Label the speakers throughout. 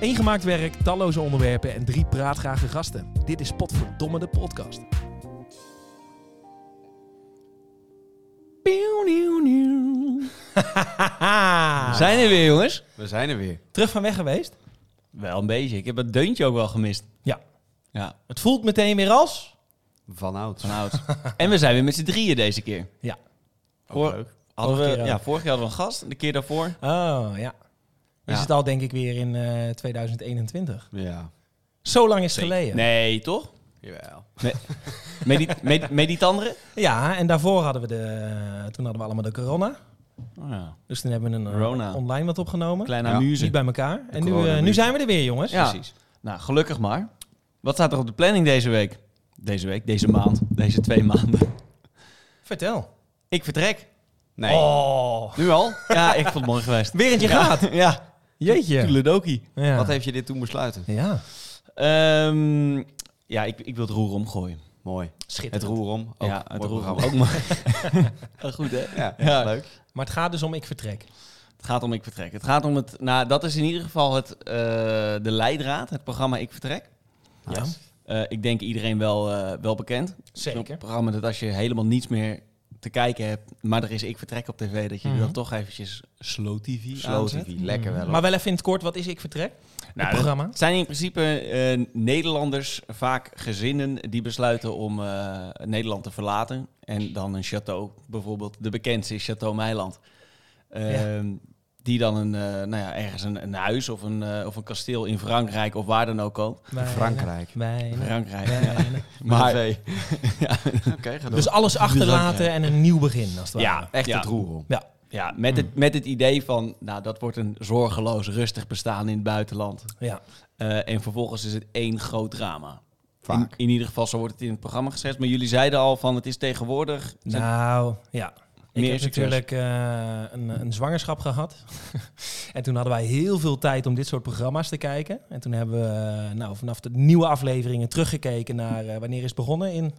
Speaker 1: Eén gemaakt werk, talloze onderwerpen en drie praatgrage gasten. Dit is Potverdomme de podcast. Pieuw, nieuw, nieuw.
Speaker 2: Haha.
Speaker 3: Zijn er weer, jongens?
Speaker 2: We zijn er weer.
Speaker 1: Terug van weg geweest.
Speaker 3: Wel een beetje. Ik heb dat deuntje ook wel gemist.
Speaker 1: Ja.
Speaker 3: Ja,
Speaker 1: Het voelt meteen weer als...
Speaker 2: Vanouds.
Speaker 3: van oud.
Speaker 1: Ah.
Speaker 3: en we zijn weer met z'n drieën deze keer.
Speaker 1: Ja.
Speaker 3: Voor-
Speaker 2: leuk.
Speaker 3: Hadden
Speaker 1: Vorige
Speaker 3: we,
Speaker 1: keer ook.
Speaker 3: ja, vorig jaar hadden we een gast, de keer daarvoor.
Speaker 1: Oh, ja. We
Speaker 3: Ja.
Speaker 1: zitten al denk ik weer in eh, 2021.
Speaker 2: Ja.
Speaker 1: Zo lang is het geleden.
Speaker 3: Nee, toch?
Speaker 2: Jawel.
Speaker 3: Medi med meditanderen?
Speaker 1: Ja, en daarvoor hadden we de... eh, toen hadden we allemaal de corona.
Speaker 3: Oh, ja.
Speaker 1: Dus toen hebben we een eh,
Speaker 3: Corona.
Speaker 1: online wat opgenomen.
Speaker 3: Kleine
Speaker 2: Ja.
Speaker 3: amuse.
Speaker 1: Niet bij elkaar. En nu, eh,
Speaker 2: coronamuziek.
Speaker 1: nu zijn we er weer, jongens.
Speaker 3: Ja.
Speaker 2: Precies.
Speaker 3: Nou, gelukkig maar. Wat staat er op de planning deze week? Deze week, deze maand, deze twee maanden.
Speaker 1: Vertel.
Speaker 3: Ik vertrek.
Speaker 2: Nee.
Speaker 1: Oh.
Speaker 2: Nu al?
Speaker 3: Ja, ik vond het mooi geweest.
Speaker 1: Berendje gaat.
Speaker 3: Ja,
Speaker 1: Jeetje.
Speaker 3: toedeledokie.
Speaker 1: Ja.
Speaker 2: Wat heeft je dit toen besluiten?
Speaker 1: ja.
Speaker 3: Ehm, ja, ik, ik wil het roer omgooien.
Speaker 2: Mooi. Het
Speaker 1: Schitterend.
Speaker 2: roer om. Ook.
Speaker 3: ja, het
Speaker 2: Mooi
Speaker 3: roer om.
Speaker 2: programma.
Speaker 3: Ook mooi. Eh, Goed, hè?
Speaker 2: Ja,
Speaker 3: Ja.
Speaker 2: leuk.
Speaker 1: Maar het gaat dus om ik vertrek.
Speaker 3: Het gaat om Ik Vertrek. Het gaat om het. Nou, dat is in ieder geval het, eh, de leidraad, het programma Ik Vertrek.
Speaker 1: Ja.
Speaker 3: Eh, ik denk iedereen wel, eh, wel bekend. Het is Een
Speaker 1: Zeker.
Speaker 3: programma dat als je helemaal niets meer te kijken hebt, maar er is Ik Vertrek op tv, dat je
Speaker 1: Mhm.
Speaker 3: dan toch eventjes Slow TV
Speaker 2: Slow
Speaker 3: aanzet.
Speaker 2: TV.
Speaker 1: Nou,
Speaker 2: Lekker wel.
Speaker 1: Mm. Maar wel even in het kort, wat is ik vertrek?
Speaker 3: Nou,
Speaker 1: het programma.
Speaker 3: Het zijn in principe eh, Nederlanders, vaak gezinnen, die besluiten om eh, Nederland te verlaten. En dan een château, bijvoorbeeld de bekendste is Château Meiland. Ehm, Die dan een, eh, nou ja, ergens een, een huis of een, eh, of een kasteel in Frankrijk of waar dan ook koopt.
Speaker 1: Weinig,
Speaker 2: Frankrijk.
Speaker 1: weinig,
Speaker 3: Frankrijk. ja.
Speaker 1: weinig.
Speaker 3: Maar
Speaker 2: Met een V.
Speaker 3: Ja.
Speaker 2: Oké, ga door.
Speaker 1: Dus alles achterlaten en een nieuw begin, als het ware.
Speaker 3: ja,
Speaker 2: Echt
Speaker 3: ja.
Speaker 2: het roer om.
Speaker 1: Ja.
Speaker 3: Ja, met, het, met het idee van, nou, dat wordt een zorgeloos, rustig bestaan in het buitenland.
Speaker 1: Ja.
Speaker 3: Eh, en vervolgens is het één groot drama. In,
Speaker 2: Vaak.
Speaker 3: in ieder geval, zo wordt het in het programma gezet. Maar jullie zeiden al van, het is tegenwoordig...
Speaker 1: Nou, ja. Ik
Speaker 3: Meer
Speaker 1: heb
Speaker 3: succes.
Speaker 1: natuurlijk eh, een, een zwangerschap gehad. en toen hadden wij heel veel tijd om dit soort programma's te kijken. En toen hebben we eh, nou, vanaf de nieuwe afleveringen teruggekeken naar eh, wanneer is het begonnen in...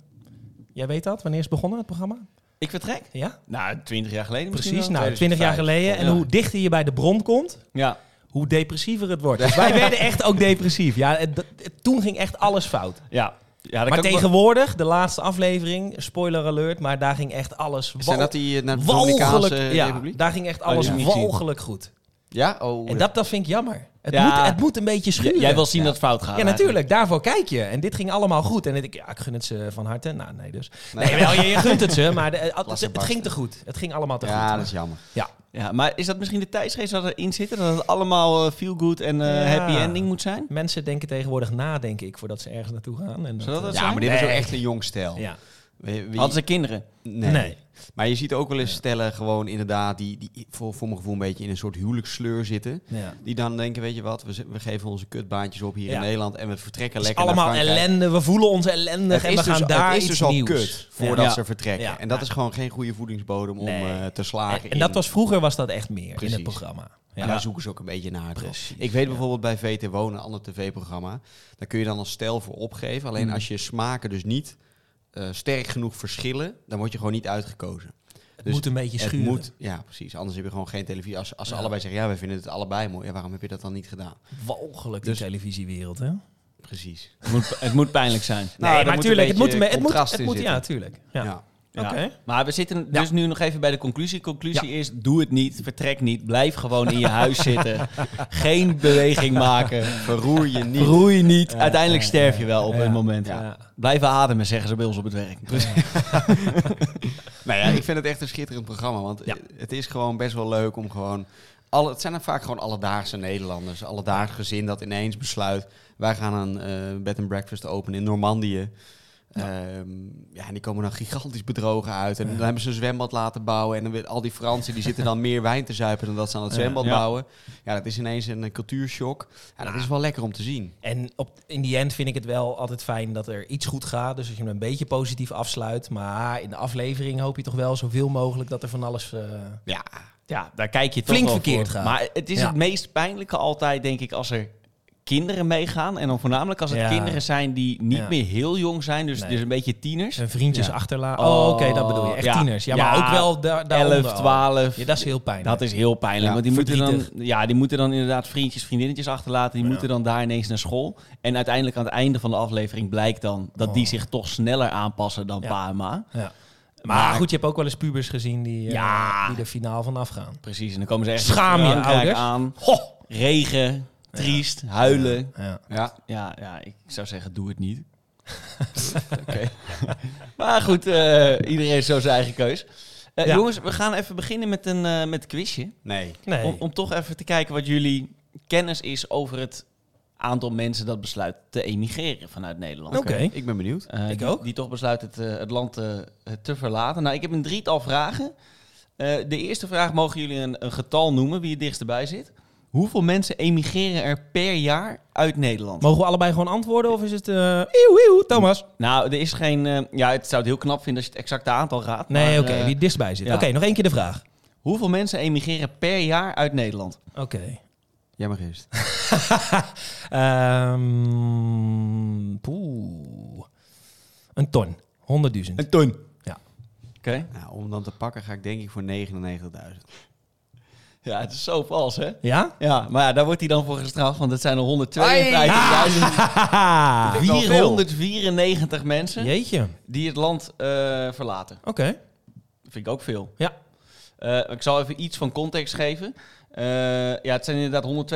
Speaker 1: Jij weet dat? Wanneer is het begonnen, het programma?
Speaker 3: Ik vertrek.
Speaker 1: Ja,
Speaker 3: Nou, twintig jaar geleden
Speaker 1: precies.
Speaker 3: misschien wel.
Speaker 1: Nou, 20 jaar
Speaker 2: 2005.
Speaker 1: geleden. En
Speaker 3: Ja.
Speaker 1: hoe dichter je bij de bron komt,
Speaker 3: Ja,
Speaker 1: hoe depressiever het wordt. Dus wij werden echt ook depressief. Ja, het- dat- het- toen ging echt alles fout.
Speaker 3: ja. ja dat
Speaker 1: maar
Speaker 3: kan ik
Speaker 1: tegenwoordig, de laatste aflevering, spoiler alert, maar daar ging echt alles
Speaker 2: Zijn
Speaker 1: wal-
Speaker 2: dat die eh, naar de Dominicaanse eh,
Speaker 1: walgelijk. Oh, Ja,
Speaker 2: Republiek?
Speaker 1: daar ging echt
Speaker 3: die
Speaker 1: alles
Speaker 3: heb ik niet gezien.
Speaker 1: walgelijk goed.
Speaker 2: Ja? Oh,
Speaker 1: En dat, dat vind ik jammer. Het,
Speaker 3: Ja.
Speaker 1: moet, het moet een beetje
Speaker 3: wel- J-
Speaker 1: schuren.
Speaker 3: Jij wil zien dat het fout gaat.
Speaker 1: Ja,
Speaker 3: eigenlijk.
Speaker 1: natuurlijk. Daarvoor kijk je. En dit ging allemaal goed. En ik, ja, ik gun het ze van harte. Nou, nee dus.
Speaker 2: Nee.
Speaker 1: Nee, wel, je, je gunt het ze, maar de- het,
Speaker 2: Laat
Speaker 1: het,
Speaker 2: ze barsten.
Speaker 1: ging te goed. Het ging allemaal te
Speaker 2: Ja,
Speaker 1: goed.
Speaker 2: dat is jammer.
Speaker 3: Ja, maar is dat misschien de tijdsgeest wat erin zit? Dat het allemaal eh, feel good en eh,
Speaker 1: Ja.
Speaker 3: happy ending moet zijn?
Speaker 1: Mensen denken tegenwoordig na, denk ik, voordat ze ergens naartoe gaan. En
Speaker 3: Zou dat
Speaker 1: eh,
Speaker 3: het
Speaker 2: Ja,
Speaker 3: zijn?
Speaker 2: maar dit was ook
Speaker 3: Nee.
Speaker 2: echt een jong stijl.
Speaker 1: ja.
Speaker 2: Wie- wie-
Speaker 3: Hadden ze kinderen?
Speaker 2: nee.
Speaker 1: Nee.
Speaker 2: Maar je ziet ook wel eens stellen gewoon inderdaad die, die voor, voor mijn gevoel een beetje in een soort huwelijkssleur zitten.
Speaker 1: ja.
Speaker 2: Die dan denken, weet je wat, we, z- we geven onze kutbaantjes op hier
Speaker 1: Ja.
Speaker 2: in Nederland en we vertrekken
Speaker 1: Het is
Speaker 2: lekker
Speaker 1: allemaal
Speaker 2: naar Frankrijk.
Speaker 1: ellende. We voelen ons ellendig
Speaker 2: Het
Speaker 1: en we
Speaker 2: is,
Speaker 1: gaan
Speaker 2: dus,
Speaker 1: daar
Speaker 2: het is
Speaker 1: iets
Speaker 2: dus al
Speaker 1: nieuws.
Speaker 2: kut voordat
Speaker 3: Ja.
Speaker 2: ze vertrekken.
Speaker 1: Ja.
Speaker 2: En dat is gewoon geen goede voedingsbodem om
Speaker 1: Nee.
Speaker 2: eh, te slagen.
Speaker 1: En dat
Speaker 2: in.
Speaker 1: was vroeger was dat echt meer in
Speaker 2: Precies.
Speaker 1: het programma.
Speaker 2: En
Speaker 1: Ja.
Speaker 2: daar zoeken ze ook een beetje naar. toch?
Speaker 1: Precies,
Speaker 2: Ik weet bijvoorbeeld bij VT Wonen, een ander tv-programma, daar kun je dan als stijl voor opgeven. Alleen
Speaker 1: Mm.
Speaker 2: als je smaken dus niet eh, sterk genoeg verschillen, dan word je gewoon niet uitgekozen.
Speaker 1: het
Speaker 2: dus
Speaker 1: moet een beetje
Speaker 2: Het
Speaker 1: schuren.
Speaker 2: moet, ja, precies. Anders heb je gewoon geen televisie. Als, als ze
Speaker 1: Ja.
Speaker 2: allebei zeggen, ja, wij vinden het allebei mooi. Ja, waarom heb je dat dan niet gedaan?
Speaker 1: Walgelijk de
Speaker 2: Dus-
Speaker 1: televisiewereld, hè?
Speaker 2: Precies.
Speaker 3: Het moet, het moet pijnlijk zijn.
Speaker 2: Nou, daar
Speaker 1: nee, maar
Speaker 2: moet
Speaker 1: tuurlijk,
Speaker 2: een
Speaker 1: het moet,
Speaker 2: beetje
Speaker 1: me- het moet,
Speaker 2: contrast
Speaker 1: het
Speaker 2: in
Speaker 1: moet
Speaker 2: zitten.
Speaker 1: ja, tuurlijk. Ja.
Speaker 2: Ja.
Speaker 1: Oké.
Speaker 3: Maar we zitten dus nu nog even bij de conclusie. Conclusie is: doe het niet, vertrek niet, blijf gewoon in je huis zitten. Geen beweging maken.
Speaker 2: Verroer je niet.
Speaker 3: Roei niet. Uiteindelijk sterf je wel op
Speaker 1: Ja.
Speaker 3: een moment.
Speaker 1: Ja.
Speaker 3: Blijven ademen, zeggen ze bij ons op het werk.
Speaker 2: Nou ja, ik vind het echt een schitterend programma. Want
Speaker 1: Ja.
Speaker 2: het is gewoon best wel leuk om gewoon... Alle, het zijn dan vaak gewoon alledaagse Nederlanders. Alledaags gezin dat ineens besluit... wij gaan een eh, bed and breakfast openen in Normandië. Ehm, ja, en die komen dan gigantisch bedrogen uit. En dan hebben ze een zwembad laten bouwen. En dan weer al die Fransen die zitten dan meer wijn te zuipen... dan dat ze aan het
Speaker 3: Ja.
Speaker 2: zwembad
Speaker 3: Ja.
Speaker 2: bouwen. Ja, dat is ineens een, eh, cultuurshock. Ja, dat is wel lekker om te zien.
Speaker 1: En op, in die end vind ik het wel altijd fijn dat er iets goed gaat. Dus dat je hem een beetje positief afsluit. Maar in de aflevering hoop je toch wel zoveel mogelijk dat er van alles... eh,
Speaker 2: Ja,
Speaker 3: Ja, daar kijk je toch
Speaker 1: Flink
Speaker 3: wel
Speaker 1: verkeerd
Speaker 3: voor.
Speaker 1: gaan.
Speaker 3: Maar het is
Speaker 1: Ja.
Speaker 3: het meest pijnlijke altijd, denk ik, als er kinderen meegaan. En dan voornamelijk als het
Speaker 1: Ja.
Speaker 3: kinderen zijn die niet
Speaker 1: Ja.
Speaker 3: meer heel jong zijn. Dus,
Speaker 1: Nee.
Speaker 3: dus een beetje tieners.
Speaker 1: Zijn vriendjes
Speaker 2: Ja.
Speaker 1: achterlaten. Oh, oké, dat bedoel je. Echt tieners. Ja, maar ook wel da daaronder
Speaker 3: 11,
Speaker 1: al.
Speaker 3: 12.
Speaker 1: Ja, dat is heel pijnlijk.
Speaker 3: Dat is heel pijnlijk.
Speaker 2: Ja,
Speaker 3: want die moeten, dan,
Speaker 1: verdrietig. Oh,
Speaker 3: ja, die moeten dan inderdaad vriendjes, vriendinnetjes achterlaten. Die
Speaker 1: Ja.
Speaker 3: moeten dan daar ineens naar school. En uiteindelijk aan het einde van de aflevering blijkt dan dat die
Speaker 1: Oh.
Speaker 3: zich toch sneller aanpassen dan
Speaker 1: Ja.
Speaker 3: pa en ma.
Speaker 1: Ja. Maar, goed, je hebt ook wel eens pubers gezien die, eh,
Speaker 3: Ja.
Speaker 1: die er finaal van afgaan.
Speaker 3: Precies. En dan komen ze echt
Speaker 1: Schaam je, ouders.
Speaker 3: aan.
Speaker 1: Ho!
Speaker 3: Regen, triest, huilen.
Speaker 1: Ja.
Speaker 2: Ja,
Speaker 3: Ja, ja, ik zou zeggen, doe het niet. Oké. maar goed, eh, iedereen heeft zo zijn eigen keus. Eh,
Speaker 1: Ja.
Speaker 3: Jongens, we gaan even beginnen met een, eh, met een quizje.
Speaker 2: nee.
Speaker 1: Nee.
Speaker 3: Om, om toch even te kijken wat jullie kennis is over het aantal mensen dat besluit te emigreren vanuit Nederland.
Speaker 1: Oké.
Speaker 2: Ik ben benieuwd.
Speaker 3: Eh,
Speaker 1: Ik
Speaker 3: die,
Speaker 1: ook.
Speaker 3: Die toch besluit het, eh, het land eh, te verlaten. Nou, ik heb een drietal vragen. Eh, de eerste vraag mogen jullie een, een getal noemen, wie het dichtst erbij zit. Hoeveel mensen emigreren er per jaar uit Nederland?
Speaker 1: Mogen we allebei gewoon antwoorden of is het... eh eeuw, eeuw, Thomas.
Speaker 3: Nou, er is geen. eh, ja, het zou het heel knap vinden als je het exacte aantal raadt.
Speaker 1: Nee,
Speaker 3: maar,
Speaker 1: oké,
Speaker 3: eh,
Speaker 1: wie het dichtst bij zit.
Speaker 3: ja.
Speaker 1: Oké, nog één keer de vraag.
Speaker 3: hoeveel mensen emigreren per jaar uit Nederland?
Speaker 1: Oké.
Speaker 2: Jij mag eerst.
Speaker 1: Ehm, poeh. Een ton. 100.000.
Speaker 3: ton.
Speaker 1: Ja.
Speaker 3: Oké.
Speaker 2: Nou, om dan te pakken ga ik denk ik voor 99.000.
Speaker 3: Ja, het is zo vals, hè?
Speaker 1: Ja?
Speaker 3: Ja, maar ja, daar wordt hij dan voor gestraft, want het zijn er
Speaker 2: Ah,
Speaker 3: 152.494
Speaker 2: wel veel.
Speaker 3: 494 mensen
Speaker 1: Jeetje. Oké.
Speaker 3: die het land eh, verlaten. Vind ik ook veel.
Speaker 1: Ja.
Speaker 3: Eh, ik zal even iets van context geven. Eh, ja, het zijn inderdaad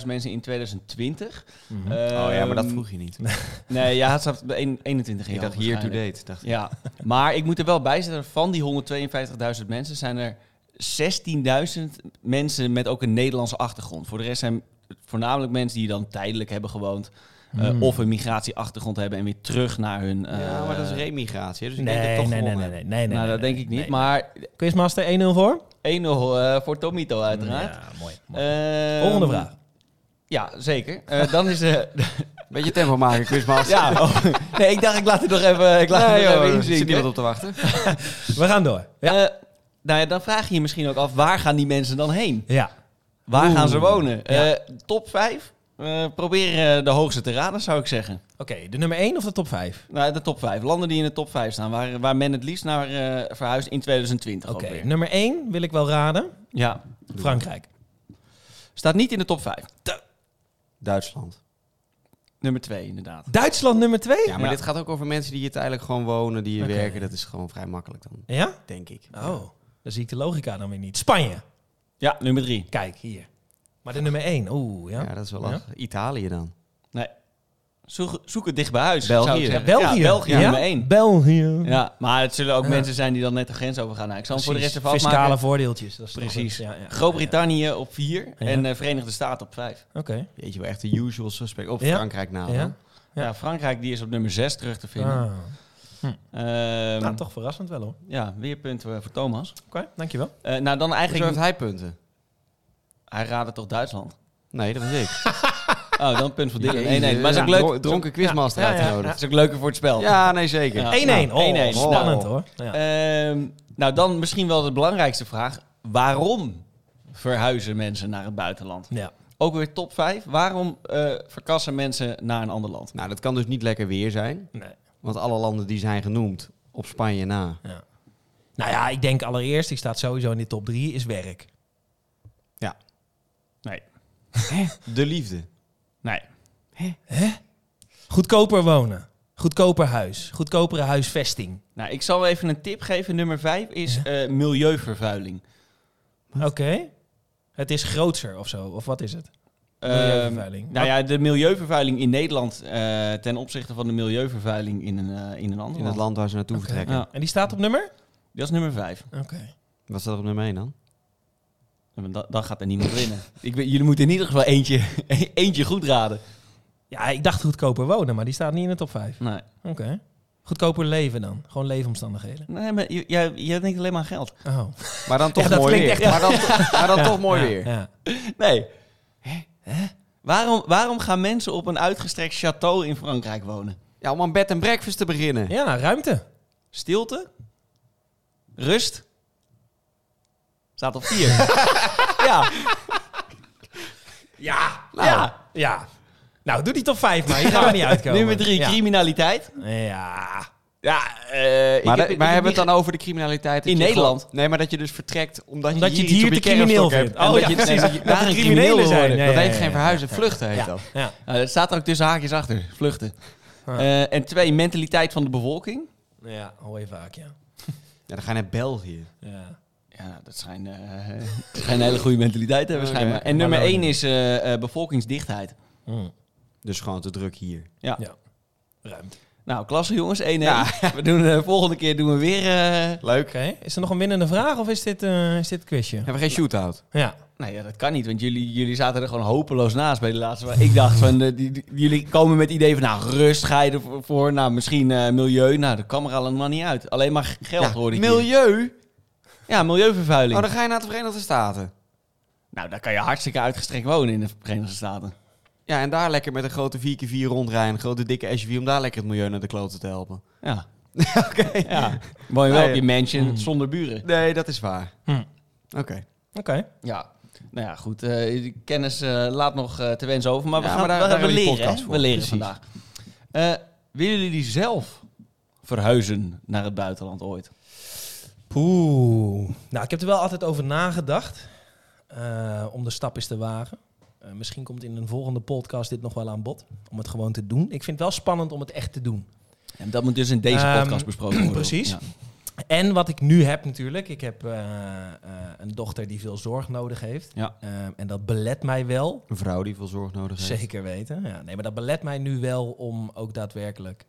Speaker 3: 152.000 mensen in 2020.
Speaker 1: Mhm.
Speaker 2: oh ja, maar dat
Speaker 3: Ehm,
Speaker 2: vroeg je niet.
Speaker 3: Nee, ja, het staat bij een- 21 jaar.
Speaker 2: ik dacht hier to date. Dacht, ik.
Speaker 3: Ja, maar ik moet er wel bij zetten, van die 152.000 mensen zijn er 16.000 mensen met ook een Nederlandse achtergrond. Voor de rest zijn het voornamelijk mensen die dan tijdelijk hebben gewoond eh,
Speaker 1: Hmm.
Speaker 3: of een migratieachtergrond hebben en weer terug naar hun... eh,
Speaker 2: ja, maar dat is remigratie. hè, Dus ik
Speaker 1: nee,
Speaker 2: denk dat
Speaker 1: nee,
Speaker 2: ik toch
Speaker 1: nee, nee,
Speaker 2: gewonnen
Speaker 1: nee,
Speaker 2: heb.
Speaker 1: nee, nee.
Speaker 3: nou,
Speaker 1: nee,
Speaker 3: dat
Speaker 1: nee,
Speaker 3: denk ik niet,
Speaker 1: nee.
Speaker 3: maar 1-0
Speaker 1: Quizmaster 1-0 voor?
Speaker 3: eh, voor Tomito uiteraard.
Speaker 1: Ja, mooi. mooi.
Speaker 2: Ehm,
Speaker 3: Eh,
Speaker 1: Volgende vraag.
Speaker 3: Ja, zeker. Eh, dan is de...
Speaker 2: Beetje tempo maken, Quizmaster.
Speaker 3: ja, oh, nee, ik dacht ik laat het nog even, ik laat
Speaker 2: Nee,
Speaker 3: het nog
Speaker 2: joh,
Speaker 3: even
Speaker 2: er zit
Speaker 3: inzien.
Speaker 2: niemand op te wachten.
Speaker 1: We gaan door. Ja.
Speaker 3: Eh, nou ja, dan vraag je je misschien ook af, waar gaan die mensen dan heen?
Speaker 1: ja.
Speaker 3: Waar
Speaker 1: Oeh.
Speaker 3: gaan ze wonen?
Speaker 1: Ja.
Speaker 3: Eh, top 5. probeer eh, de hoogste te raden, zou ik zeggen.
Speaker 1: Oké, de nummer 1 of de top 5?
Speaker 3: Nou, de top 5. Landen die in de top 5 staan, waar, waar men het liefst naar eh, verhuist in 2020.
Speaker 1: Oké,
Speaker 3: alweer.
Speaker 1: nummer 1 wil ik wel raden.
Speaker 3: Ja.
Speaker 1: Frankrijk.
Speaker 3: Staat niet in de top 5.
Speaker 2: Duitsland.
Speaker 3: Nummer 2, inderdaad.
Speaker 1: Duitsland nummer 2?
Speaker 2: Ja, maar
Speaker 3: Ja.
Speaker 2: dit gaat ook over mensen die hier tijdelijk gewoon wonen, die hier
Speaker 1: Oké.
Speaker 2: werken. Dat is gewoon vrij makkelijk dan,
Speaker 1: Ja?
Speaker 2: denk ik.
Speaker 1: Oh, dan zie ik de logica dan weer niet. Spanje.
Speaker 3: Ja, nummer 3.
Speaker 1: Kijk, hier. Maar de nummer 1, oeh,
Speaker 2: Ja,
Speaker 1: ja.
Speaker 2: dat is wel
Speaker 1: Ja.
Speaker 2: lastig. Italië dan.
Speaker 3: Nee. Zoek, zoek het dicht bij huis.
Speaker 2: België.
Speaker 3: zou ik
Speaker 1: Ja,
Speaker 3: zeggen.
Speaker 1: België.
Speaker 3: Ja, België,
Speaker 1: Ja?
Speaker 3: nummer 1.
Speaker 1: België.
Speaker 3: Ja, maar het zullen ook
Speaker 1: Ja.
Speaker 3: mensen zijn die dan net de grens overgaan. Nou, ik zal hem voor de rest
Speaker 1: Precies,
Speaker 3: ervan
Speaker 1: Fiscale
Speaker 3: afmaken.
Speaker 1: voordeeltjes. Dat is toch
Speaker 3: Precies.
Speaker 1: het, ja, ja.
Speaker 3: Groot-Brittannië op 4
Speaker 1: Ja.
Speaker 3: en eh, Verenigde Staten op 5.
Speaker 1: Oké.
Speaker 2: Jeetje, wel echt de usual suspect. Of
Speaker 1: Ja.
Speaker 2: Frankrijk nou
Speaker 3: Nou,
Speaker 2: na.
Speaker 1: Ja. Ja.
Speaker 2: Ja.
Speaker 3: Ja. Frankrijk die is op nummer 6 terug te vinden.
Speaker 1: Ah.
Speaker 3: Ehm,
Speaker 1: Nou, toch verrassend wel hoor.
Speaker 3: Ja, weer punt eh, voor Thomas.
Speaker 1: Oké, dankjewel.
Speaker 3: Eh, nou, dan
Speaker 2: Zo heeft
Speaker 3: eigenlijk...
Speaker 2: hij punten.
Speaker 3: Hij raadde toch Duitsland?
Speaker 2: Nee, dat was ik.
Speaker 3: Oh, dan punt voor Dylan.
Speaker 2: Jezus,
Speaker 3: 1 Maar is
Speaker 2: ja,
Speaker 3: ook leuk.
Speaker 2: dron- Dronken quizmaster
Speaker 1: Ja, ja, ja.
Speaker 2: uitgenodigd.
Speaker 3: is ook leuker voor het spel.
Speaker 2: Ja, nee, zeker.
Speaker 3: Ja.
Speaker 1: 1-1.
Speaker 3: Nou,
Speaker 1: oh,
Speaker 3: 1-1.
Speaker 1: spannend
Speaker 2: Oh.
Speaker 1: hoor. Ja.
Speaker 3: Ehm, nou, dan misschien wel de belangrijkste vraag. Waarom verhuizen mensen naar het buitenland?
Speaker 1: ja.
Speaker 3: Ook weer top 5. Waarom eh, verkassen mensen naar een ander land?
Speaker 2: Nou, dat kan dus niet lekker weer zijn.
Speaker 1: Nee.
Speaker 2: Want alle landen die zijn genoemd, op Spanje na.
Speaker 1: Ja. Nou ja, ik denk allereerst, die staat sowieso in de top 3, is werk.
Speaker 3: Nee.
Speaker 2: De liefde.
Speaker 3: Nee.
Speaker 1: Goedkoper wonen. Goedkoper huis. Goedkopere huisvesting.
Speaker 3: Nou, ik zal even een tip geven. Nummer 5 is eh, milieuvervuiling.
Speaker 1: Oké. Het is groter of zo. Of wat is het?
Speaker 3: Ehm,
Speaker 1: Milieuvervuiling.
Speaker 3: nou ja, de milieuvervuiling in Nederland eh, ten opzichte van de milieuvervuiling in een, eh, in een ander
Speaker 2: In
Speaker 3: land.
Speaker 2: het land waar ze naartoe
Speaker 1: Oké.
Speaker 2: vertrekken.
Speaker 3: Ja,
Speaker 1: En die staat op nummer?
Speaker 3: dat is nummer 5.
Speaker 1: Oké.
Speaker 2: Wat staat er op nummer 1 dan?
Speaker 3: Dan, dan gaat er niemand winnen. Ik weet, jullie moeten in ieder geval eentje, eentje goed raden.
Speaker 1: Ja, ik dacht goedkoper wonen, maar die staat niet in de top 5.
Speaker 3: Nee,
Speaker 1: Oké. Goedkoper leven dan. Gewoon leefomstandigheden.
Speaker 3: nee maar j- jij, jij denkt alleen maar aan geld.
Speaker 1: Oh.
Speaker 2: Maar dan toch
Speaker 1: Ja, dat
Speaker 2: mooi weer.
Speaker 1: klinkt
Speaker 2: maar dan, maar dan toch mooi
Speaker 1: Ja,
Speaker 2: weer.
Speaker 1: Ja.
Speaker 3: Nee. Waarom, waarom gaan mensen op een uitgestrekt château in Frankrijk wonen?
Speaker 2: Ja, om aan bed en breakfast te beginnen.
Speaker 1: ja, nou, ruimte.
Speaker 3: Stilte? Rust? Staat op vier. ja.
Speaker 1: Ja.
Speaker 2: Nou,
Speaker 1: Ja. Nou, doe die top 5 maar. Hier gaan we niet uitkomen.
Speaker 3: Nummer drie,
Speaker 1: Ja.
Speaker 3: criminaliteit.
Speaker 1: Ja.
Speaker 3: Ja, eh, ik
Speaker 2: Maar,
Speaker 3: heb-
Speaker 2: da-
Speaker 3: ik
Speaker 2: maar
Speaker 3: heb
Speaker 2: hebben we
Speaker 3: niet
Speaker 2: het dan over de criminaliteit? dat
Speaker 3: In
Speaker 2: je
Speaker 3: Nederland?
Speaker 2: gewoon- nee, maar dat je dus vertrekt omdat,
Speaker 1: Omdat
Speaker 2: je
Speaker 1: je
Speaker 2: hier
Speaker 1: het hier
Speaker 2: iets op
Speaker 1: te
Speaker 2: je
Speaker 1: crimineel
Speaker 2: kerfstok hebt.
Speaker 1: vindt. Oh
Speaker 2: En
Speaker 1: ja,
Speaker 2: dat je,
Speaker 1: precies.
Speaker 2: dat je
Speaker 1: Dat
Speaker 2: daar
Speaker 1: er
Speaker 2: een
Speaker 1: criminelen
Speaker 2: crimineel
Speaker 1: zijn.
Speaker 2: worden.
Speaker 1: Ja,
Speaker 2: dat
Speaker 1: ja,
Speaker 2: heet
Speaker 1: ja,
Speaker 2: geen
Speaker 1: ja.
Speaker 2: verhuizen, vluchten heet
Speaker 1: Ja.
Speaker 2: dat.
Speaker 1: Ja.
Speaker 3: ge- Nou, dat staat er ook tussen haakjes achter. Vluchten.
Speaker 1: Ja.
Speaker 3: Eh, en twee, mentaliteit van de bevolking.
Speaker 1: ja, hoor je vaak, ja.
Speaker 2: Ja, dan ga je naar België.
Speaker 1: ja.
Speaker 3: Ja, nou, dat schijnt eh schijn een hele goede mentaliteit te hebben
Speaker 2: Oké.
Speaker 3: schijnbaar. En
Speaker 1: Maar
Speaker 3: nummer
Speaker 1: wel
Speaker 3: één
Speaker 1: niet.
Speaker 3: is eh, eh, bevolkingsdichtheid.
Speaker 1: Hm.
Speaker 2: Dus gewoon te druk hier.
Speaker 3: Ja.
Speaker 1: Ja. Ruim. Oké,
Speaker 3: Nou, klasse jongens, 1-1.
Speaker 2: Ja.
Speaker 3: We doen de volgende keer doen we weer... eh,
Speaker 2: Leuk.
Speaker 1: is er nog een winnende vraag of is dit, eh, is dit een quizje?
Speaker 2: Hebben we geen shootout?
Speaker 1: Ja.
Speaker 3: Nou ja, dat kan niet, want jullie, jullie zaten er gewoon hopeloos naast bij de laatste. Maar ik dacht van, eh, die, die- jullie komen met het idee van, nou, rust ga je ervoor. voor. Nou, misschien eh, milieu. Nou, dat kwam er allemaal niet uit. Alleen maar geld
Speaker 2: Ja,
Speaker 3: hoorde ik hier.
Speaker 2: milieu?
Speaker 3: Ja, milieuvervuiling.
Speaker 2: Oh, dan ga je naar de Verenigde Staten.
Speaker 3: Nou, daar kan je hartstikke uitgestrekt wonen in de Verenigde Staten.
Speaker 2: Ja, en daar lekker met een grote 4x4 rondrijden. Een grote dikke SUV om daar lekker het milieu naar de kloten te helpen.
Speaker 3: Ja.
Speaker 2: Oké.
Speaker 3: ja. Woon je wel
Speaker 2: Ah,
Speaker 3: op
Speaker 2: ja.
Speaker 3: je mansion
Speaker 1: Mm.
Speaker 3: zonder buren.
Speaker 2: Nee, dat is waar.
Speaker 1: Hm.
Speaker 2: Oké.
Speaker 1: Oké.
Speaker 3: Ja. Nou ja, goed. eh, die kennis eh, laat nog eh, te wensen over. Maar we
Speaker 2: Ja,
Speaker 3: gaan
Speaker 2: maar daar-
Speaker 3: we-
Speaker 2: daar
Speaker 3: we,
Speaker 2: hebben we die
Speaker 3: leren,
Speaker 2: podcast
Speaker 3: hè?
Speaker 2: voor.
Speaker 3: We leren
Speaker 2: Precies.
Speaker 3: vandaag. Eh, willen jullie zelf verhuizen naar het buitenland ooit?
Speaker 1: Poeh. Nou, ik heb er wel altijd over nagedacht. eh, om de stap eens te wagen. Eh, misschien komt in een volgende podcast dit nog wel aan bod. Om het gewoon te doen. Ik vind het wel spannend om het echt te doen.
Speaker 3: En dat moet dus in deze
Speaker 1: Ehm,
Speaker 3: podcast besproken worden.
Speaker 1: precies.
Speaker 3: Ja.
Speaker 1: En wat ik nu heb natuurlijk. Ik heb eh, eh, een dochter die veel zorg nodig heeft.
Speaker 3: Ja.
Speaker 1: Eh, en dat belet mij wel.
Speaker 2: Een vrouw die veel zorg nodig heeft.
Speaker 1: Zeker weten. Ja, nee, maar dat belet mij nu wel om ook daadwerkelijk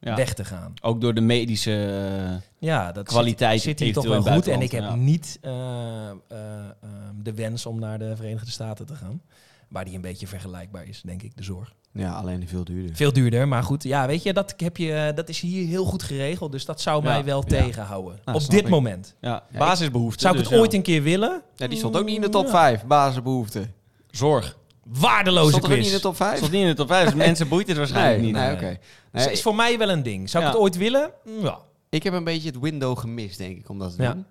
Speaker 3: Ja.
Speaker 1: weg te gaan.
Speaker 3: Ook door de medische eh,
Speaker 1: Ja, dat
Speaker 3: kwaliteit.
Speaker 1: zit, zit hier toch
Speaker 3: eventueel
Speaker 1: wel
Speaker 3: in het
Speaker 1: goed. En ik heb
Speaker 3: buitenland.
Speaker 1: niet eh, eh, eh, de wens om naar de Verenigde Staten te gaan. Waar die een beetje vergelijkbaar is, denk ik, de zorg.
Speaker 2: Ja, alleen veel duurder.
Speaker 1: Veel duurder, maar goed. Ja, weet je, dat, heb je, eh, dat is hier heel goed geregeld. Dus dat zou
Speaker 3: Ja,
Speaker 1: mij wel
Speaker 3: ja.
Speaker 1: tegenhouden.
Speaker 3: Nou,
Speaker 1: Op
Speaker 3: snap
Speaker 1: dit
Speaker 3: ik.
Speaker 1: moment.
Speaker 3: ja. Ja,
Speaker 2: ik-
Speaker 3: basisbehoeften.
Speaker 1: Zou ik
Speaker 3: dus
Speaker 1: het ooit
Speaker 3: ja.
Speaker 1: een keer willen?
Speaker 2: Ja, die stond ook niet in de top
Speaker 1: Ja.
Speaker 2: 5, basisbehoeften.
Speaker 3: Zorg.
Speaker 1: Waardeloze
Speaker 2: Stond er ook
Speaker 1: quiz.
Speaker 2: niet in de top 5?
Speaker 3: Stond niet in de top 5. Mensen boeit het waarschijnlijk
Speaker 2: nee,
Speaker 3: niet.
Speaker 2: nee,
Speaker 3: eh.
Speaker 2: oké.
Speaker 1: Dus
Speaker 2: Nee,
Speaker 1: is voor mij wel een ding. Zou ik
Speaker 3: Ja.
Speaker 1: het ooit willen? Mm, Ja.
Speaker 2: Ik heb een beetje het window gemist, denk ik, om dat te
Speaker 1: Ja.
Speaker 2: doen.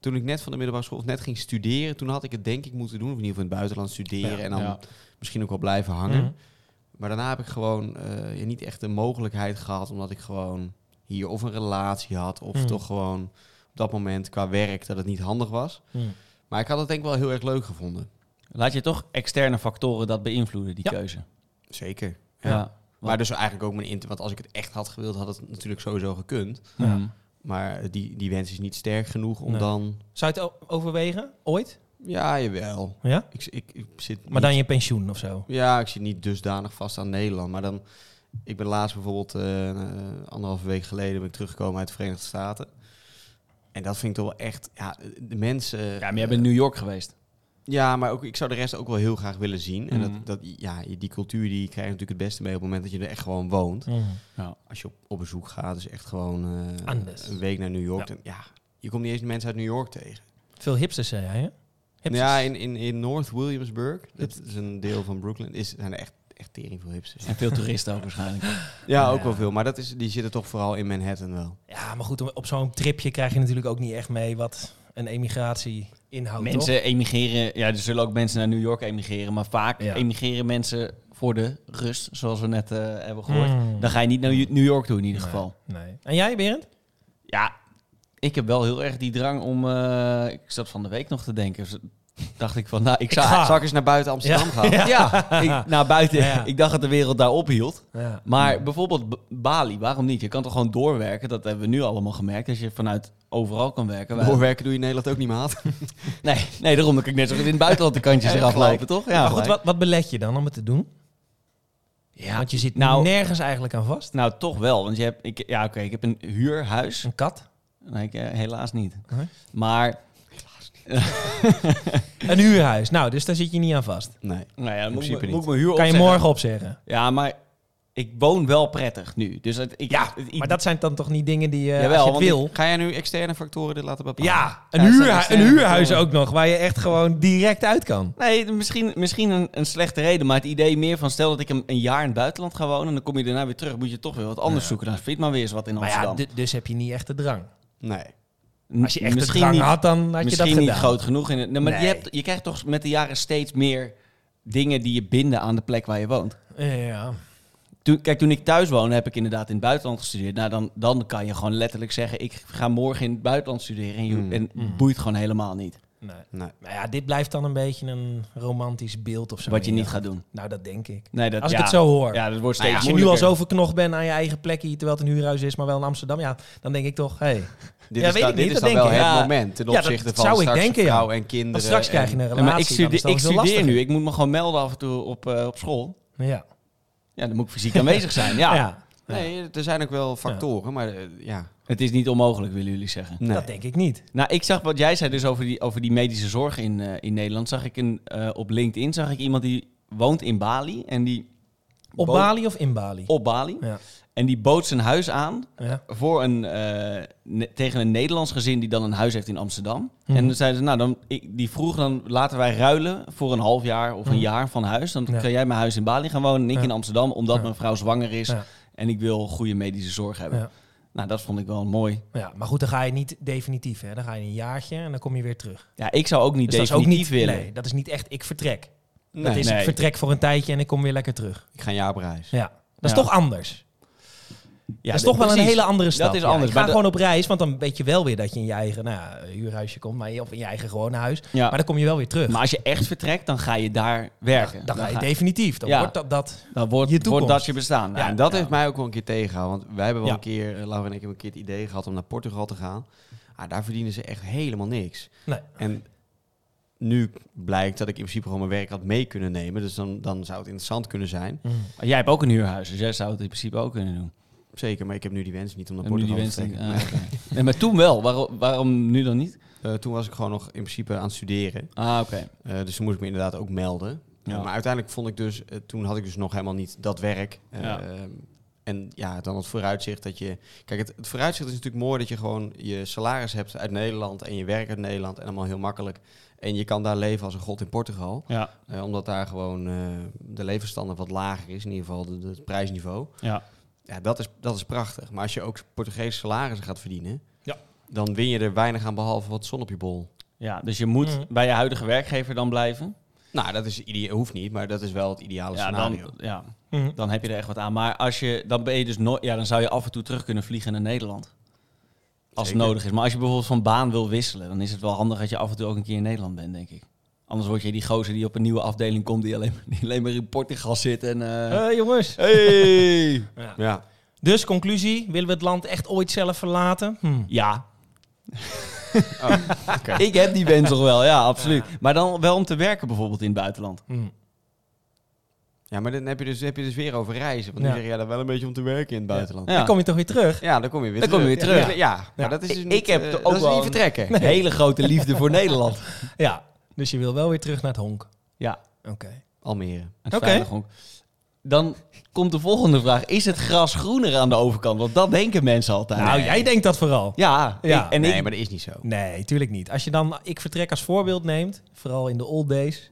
Speaker 2: Toen ik net van de middelbare school, of net ging studeren, toen had ik het denk ik moeten doen. Of in ieder geval in het buitenland studeren
Speaker 1: Ja.
Speaker 2: en dan
Speaker 3: Ja.
Speaker 2: misschien ook wel blijven hangen.
Speaker 1: Mhm.
Speaker 2: Maar daarna heb ik gewoon eh, ja, niet echt de mogelijkheid gehad, omdat ik gewoon hier of een relatie had, of
Speaker 1: Mhm.
Speaker 2: toch gewoon op dat moment qua werk dat het niet handig was.
Speaker 1: Mhm.
Speaker 2: Maar ik had het denk ik wel heel erg leuk gevonden.
Speaker 3: Laat je toch externe factoren dat beïnvloeden, die
Speaker 1: Ja.
Speaker 3: keuze.
Speaker 2: Zeker.
Speaker 3: Ja.
Speaker 2: Maar dus eigenlijk ook mijn inter, want als ik het echt had gewild, had het natuurlijk sowieso gekund.
Speaker 1: Ja.
Speaker 3: Mm.
Speaker 2: Maar die, die wens is niet sterk genoeg om
Speaker 1: Nee.
Speaker 2: dan.
Speaker 1: Zou je het o- overwegen? Ooit?
Speaker 2: Ja, jawel.
Speaker 1: Ja?
Speaker 2: Ik, ik, ik zit
Speaker 1: Maar dan je pensioen of zo?
Speaker 2: Ja, ik zit niet dusdanig vast aan Nederland. Maar dan, ik ben laatst bijvoorbeeld eh, eh, anderhalve week geleden ben ik teruggekomen uit de Verenigde Staten. En dat vind ik toch wel echt, ja, de mensen.
Speaker 3: Ja, maar jij bent in New York geweest.
Speaker 2: Ja, maar ook, ik zou de rest ook wel heel graag willen zien. En
Speaker 3: Mhm.
Speaker 2: dat, dat, ja, die cultuur die krijg je natuurlijk het beste mee op het moment dat je er echt gewoon woont.
Speaker 3: Mm.
Speaker 2: Als je op, op bezoek gaat, dus echt gewoon eh,
Speaker 1: Anders.
Speaker 2: een week naar New York. dan- ja, je komt niet eens de mensen uit New York tegen.
Speaker 1: Veel hipsters, zei jij, hè? Hipsters.
Speaker 2: Ja, in, in, in North Williamsburg, dat is een deel van Brooklyn, is, zijn er echt, echt tering veel hipsters.
Speaker 3: En veel toeristen ook waarschijnlijk.
Speaker 2: Ja,
Speaker 1: Ja.
Speaker 2: ook wel veel. Maar dat is, die zitten toch vooral in Manhattan wel.
Speaker 1: Ja, maar goed, om- op zo'n tripje krijg je natuurlijk ook niet echt mee wat een emigratie inhoudt.
Speaker 3: mensen emigreren. Ja, er zullen ook mensen naar New York emigreren. Maar vaak
Speaker 1: Ja.
Speaker 3: emigreren mensen voor de rust, zoals we net eh, hebben
Speaker 1: toch?
Speaker 3: gehoord.
Speaker 1: Mm.
Speaker 3: Dan ga je niet naar New York toe in ieder geval.
Speaker 1: Nee. nee. En jij, Berend?
Speaker 3: Ja, ik heb wel heel erg die drang om. eh, ik zat van de week nog te denken. Dus dacht ik van, nou, ik zou.
Speaker 1: ga.
Speaker 2: Zal ik eens naar buiten Amsterdam gaan?
Speaker 3: Ja, ik, nou buiten.
Speaker 1: Ja. Hmm.
Speaker 3: Ik dacht dat de wereld daar ophield.
Speaker 1: Ja.
Speaker 3: Maar bijvoorbeeld B- Bali, waarom niet? Je kan toch gewoon doorwerken? Dat hebben we nu allemaal gemerkt. Als je vanuit overal kan werken. Wij-
Speaker 2: Doorwerken doe je in Nederland ook niet, maat.
Speaker 3: Nee, nee, daarom dat ik net zo goed in het buitenland de kantjes
Speaker 2: Ja,
Speaker 3: eraf
Speaker 2: gelijk.
Speaker 3: lopen, toch?
Speaker 1: maar
Speaker 3: Ja,
Speaker 1: goed,
Speaker 3: gelijk.
Speaker 1: wat, wat belet je dan om het te doen?
Speaker 3: Ja,
Speaker 1: Want je zit
Speaker 3: nou-
Speaker 1: nergens eigenlijk aan vast.
Speaker 3: Nou, toch wel. Want je hebt, ik, ja, oké, ik heb een huurhuis.
Speaker 1: Een kat.
Speaker 3: Nee, ik, eh, helaas niet.
Speaker 1: Oké.
Speaker 3: Maar,
Speaker 1: Een huurhuis. Nou, dus daar zit je niet aan vast.
Speaker 2: Nee.
Speaker 3: nou ja, moet,
Speaker 2: In
Speaker 3: ik
Speaker 2: principe
Speaker 3: mijn-
Speaker 2: niet.
Speaker 3: moet ik mijn huur
Speaker 1: Kan je
Speaker 3: opzeggen.
Speaker 1: morgen opzeggen.
Speaker 3: Ja, maar ik woon wel prettig nu. Dus het, ik,
Speaker 1: Ja,
Speaker 3: het-
Speaker 1: maar dat zijn dan toch niet dingen die eh
Speaker 3: Jawel,
Speaker 1: als je het
Speaker 3: want ik-
Speaker 1: wil...
Speaker 2: Ga jij nu externe factoren dit laten bepalen?
Speaker 1: Ja,
Speaker 3: Ja,
Speaker 1: een,
Speaker 3: het zijn
Speaker 1: huurhu- een
Speaker 3: externe
Speaker 1: huurhuis
Speaker 3: factoren.
Speaker 1: ook nog, waar je echt gewoon direct uit kan.
Speaker 3: Nee, misschien, misschien een, een slechte reden. Maar het idee meer van, stel dat ik een, een jaar in het buitenland ga wonen... en dan kom je daarna weer terug, moet je toch weer wat anders zoeken. Dan vind maar weer eens wat in
Speaker 1: Maar ja,
Speaker 3: Amsterdam.
Speaker 1: du- dus heb je niet echt de drang.
Speaker 2: Nee.
Speaker 1: Als je echt
Speaker 3: misschien
Speaker 1: de drang
Speaker 3: niet,
Speaker 1: had, dan had je dat
Speaker 3: misschien
Speaker 1: gedaan.
Speaker 3: niet groot genoeg. In het, nee, maar
Speaker 1: Nee.
Speaker 3: je, hebt, je krijgt toch met de jaren steeds meer dingen die je binden aan de plek waar je woont.
Speaker 4: Ja.
Speaker 3: Toen, kijk, toen ik thuis woonde, heb ik inderdaad in het buitenland gestudeerd. Nou, dan, dan kan je gewoon letterlijk zeggen, ik ga morgen in het buitenland studeren. En, je,
Speaker 1: Hmm.
Speaker 2: Mm.
Speaker 3: en
Speaker 4: Mm.
Speaker 3: boeit gewoon helemaal niet.
Speaker 1: Nee.
Speaker 2: Nee.
Speaker 1: Maar ja, dit blijft dan een beetje een romantisch beeld of zo.
Speaker 3: Wat je niet gaat doen.
Speaker 1: Nou, dat denk ik.
Speaker 3: Nee, dat,
Speaker 1: Als
Speaker 3: ja.
Speaker 1: ik het zo hoor.
Speaker 3: Ja, dat wordt
Speaker 1: Nou
Speaker 3: steeds
Speaker 1: ja, als je nu al zo verknocht bent aan je eigen plekje, terwijl het een huurhuis is, maar wel in Amsterdam, ja, dan denk ik toch, hey,
Speaker 2: Dit
Speaker 1: Ja,
Speaker 2: is
Speaker 1: weet
Speaker 2: dan,
Speaker 1: ik
Speaker 2: dit
Speaker 1: niet,
Speaker 2: is
Speaker 1: dat
Speaker 2: dan
Speaker 1: denk
Speaker 2: wel
Speaker 1: ik.
Speaker 2: het
Speaker 3: Ja.
Speaker 2: moment ten
Speaker 1: Ja, dat
Speaker 2: opzichte van
Speaker 1: zou ik
Speaker 2: straks
Speaker 1: denken, ja.
Speaker 2: vrouw en kinderen.
Speaker 1: dan straks krijg je
Speaker 2: en-
Speaker 1: een relatie.
Speaker 3: Ja, maar ik
Speaker 1: dan is
Speaker 3: studeer,
Speaker 1: dat
Speaker 3: ik
Speaker 1: veel
Speaker 3: studeer nu.
Speaker 1: lastiger.
Speaker 3: Ik moet me gewoon melden af en toe op, eh, op school.
Speaker 1: Ja.
Speaker 3: Ja, dan moet ik fysiek aanwezig zijn. Ja.
Speaker 1: Ja,
Speaker 2: Nee, er zijn ook wel factoren, maar eh, ja.
Speaker 3: Het is niet onmogelijk, willen jullie zeggen.
Speaker 2: Nee.
Speaker 1: dat denk ik niet.
Speaker 3: Nou, ik zag wat jij zei dus over die, over die medische zorg in, eh, in Nederland. Zag ik een, eh, op LinkedIn zag ik iemand die woont in Bali. En die
Speaker 1: Op
Speaker 3: bo-
Speaker 1: Bali of in Bali?
Speaker 3: Op Bali.
Speaker 1: Ja.
Speaker 3: En die bood zijn huis aan
Speaker 1: Ja.
Speaker 3: voor een, eh, ne- tegen een Nederlands gezin die dan een huis heeft in Amsterdam.
Speaker 1: Mhm.
Speaker 3: En dan zeiden ze, nou, dan, ik, die vroeg dan, laten wij ruilen voor een half jaar of een
Speaker 1: Mhm.
Speaker 3: jaar van huis. Dan
Speaker 1: Ja.
Speaker 3: kan jij mijn huis in Bali gaan wonen en ik
Speaker 1: Ja.
Speaker 3: in Amsterdam, omdat
Speaker 1: Ja.
Speaker 3: mijn vrouw zwanger is.
Speaker 1: Ja.
Speaker 3: En ik wil goede medische zorg hebben.
Speaker 1: Ja.
Speaker 3: Nou, dat vond ik wel mooi.
Speaker 1: Ja, maar goed, dan ga je niet definitief. Hè. Dan ga je een jaartje en dan kom je weer terug.
Speaker 3: Ja, ik zou ook niet
Speaker 1: Dus dat is ook
Speaker 3: definitief
Speaker 1: niet,
Speaker 3: willen.
Speaker 1: nee, dat is niet echt ik vertrek.
Speaker 2: Nee.
Speaker 1: Dat is
Speaker 3: Nee.
Speaker 1: ik vertrek voor een tijdje en ik kom weer lekker terug.
Speaker 2: Ik ga een jaar op reis.
Speaker 1: Ja, dat is
Speaker 3: Ja.
Speaker 1: toch anders.
Speaker 3: Ja,
Speaker 1: dat is toch wel een
Speaker 3: precies.
Speaker 1: hele andere stap.
Speaker 3: is
Speaker 1: ja.
Speaker 3: anders,
Speaker 1: ik ga
Speaker 3: maar dat-
Speaker 1: gewoon op reis, want dan weet je wel weer dat je in je eigen nou ja, huurhuisje komt. Maar, of in je eigen gewone huis.
Speaker 3: Ja.
Speaker 1: Maar
Speaker 3: Ah. Maar,
Speaker 1: dan kom je wel weer terug.
Speaker 3: als je echt vertrekt, dan ga je daar werken.
Speaker 1: dan ga je
Speaker 3: ga-
Speaker 1: definitief. Dan
Speaker 3: Ja.
Speaker 1: wordt dat... dat
Speaker 3: dan wordt,
Speaker 1: je
Speaker 3: wordt
Speaker 1: toekomst.
Speaker 3: dat je bestaan.
Speaker 2: Ja, en dat heeft mij ook wel een keer tegengehouden. Want wij hebben wel
Speaker 3: Ja.
Speaker 2: een keer, eh, Laura en ik hebben een keer het idee gehad om naar Portugal te gaan. Ah, daar verdienen ze echt helemaal niks.
Speaker 1: Nee.
Speaker 2: En nu blijkt dat ik in principe gewoon mijn werk had mee kunnen nemen. Dus dan, dan zou het interessant kunnen zijn.
Speaker 3: Maar Jij hebt ook een huurhuis, dus jij zou het in principe ook kunnen doen.
Speaker 2: Zeker, maar ik heb nu die wens niet om naar
Speaker 3: En nu die
Speaker 2: Portugal te
Speaker 3: wens
Speaker 2: trekken.
Speaker 3: denken, ah, oké. nee, maar toen wel. Waarom, waarom nu dan niet?
Speaker 2: Eh, toen was ik gewoon nog in principe aan het studeren.
Speaker 3: Ah, oké.
Speaker 2: Eh, dus toen moest ik me inderdaad ook melden.
Speaker 3: Ja.
Speaker 2: Eh, maar uiteindelijk vond ik dus, eh, toen had ik dus nog helemaal niet dat werk. Eh,
Speaker 3: Ja.
Speaker 2: En ja, dan het vooruitzicht dat je. Kijk, het, het vooruitzicht is natuurlijk mooi dat je gewoon je salaris hebt uit Nederland en je werk uit Nederland en allemaal heel makkelijk. En je kan daar leven als een god in Portugal.
Speaker 3: Ja,
Speaker 2: Eh, omdat daar gewoon eh, de levensstandaard wat lager is, in ieder geval de- de- het prijsniveau.
Speaker 3: ja.
Speaker 2: Ja, dat is, dat is prachtig. Maar als je ook Portugese salarissen gaat verdienen,
Speaker 1: Ja.
Speaker 2: dan win je er weinig aan behalve wat zon op je bol.
Speaker 3: ja dus je moet
Speaker 1: Mhm.
Speaker 3: bij je huidige werkgever dan blijven.
Speaker 2: Nou, dat is idea- hoeft niet, maar dat is wel het ideale
Speaker 3: Ja
Speaker 2: scenario.
Speaker 3: dan, ja,
Speaker 1: Mm.
Speaker 3: dan heb je er echt wat aan. Maar als je, dan, ben je dus nooit ja, dan zou je af en toe terug kunnen vliegen naar Nederland. Als het
Speaker 2: Zeker.
Speaker 3: nodig is. Maar als je bijvoorbeeld van baan wil wisselen, dan is het wel handig dat je af en toe ook een keer in Nederland bent, denk ik. Anders word je die gozer die op een nieuwe afdeling komt, die alleen, die alleen maar in Portugal zit. En, eh,
Speaker 1: Eh, jongens.
Speaker 3: Hey!
Speaker 1: Ja.
Speaker 2: Ja,
Speaker 1: Dus conclusie, willen we het land echt ooit zelf verlaten? Hm.
Speaker 3: Ja. Ik heb die wens nog wel, ja, absoluut. Maar dan wel om te werken bijvoorbeeld in het buitenland.
Speaker 1: Hm.
Speaker 2: ja maar dan heb je, dus, heb je dus weer over reizen. Want
Speaker 1: Ja.
Speaker 2: nu zeg je dat wel een beetje om te werken in het buitenland. Ja,
Speaker 3: Ja.
Speaker 1: Dan kom je toch weer terug?
Speaker 2: dan kom je weer
Speaker 3: Dan kom
Speaker 2: terug.
Speaker 3: je weer terug.
Speaker 2: Ja, ja, maar dat is dus
Speaker 3: Ik-
Speaker 2: niet,
Speaker 3: ik heb
Speaker 2: eh,
Speaker 3: toch ook
Speaker 2: dat is
Speaker 3: wel
Speaker 2: niet
Speaker 3: een-
Speaker 2: vertrekken.
Speaker 3: Een hele grote liefde voor Nederland.
Speaker 1: Ja. Dus je wil wel weer terug naar het honk.
Speaker 3: Ja,
Speaker 1: Oké.
Speaker 2: Almere.
Speaker 3: het
Speaker 1: Oké.
Speaker 3: veilig honk. Dan komt de volgende vraag. Is het gras groener aan de overkant? Want dat denken mensen altijd.
Speaker 1: Nou, jij denkt dat vooral.
Speaker 3: Ja,
Speaker 1: Ja.
Speaker 3: ik- en
Speaker 2: nee,
Speaker 3: ik...
Speaker 2: maar dat is niet zo.
Speaker 1: Nee, tuurlijk niet. Als je dan ik vertrek als voorbeeld neemt, vooral in de old days,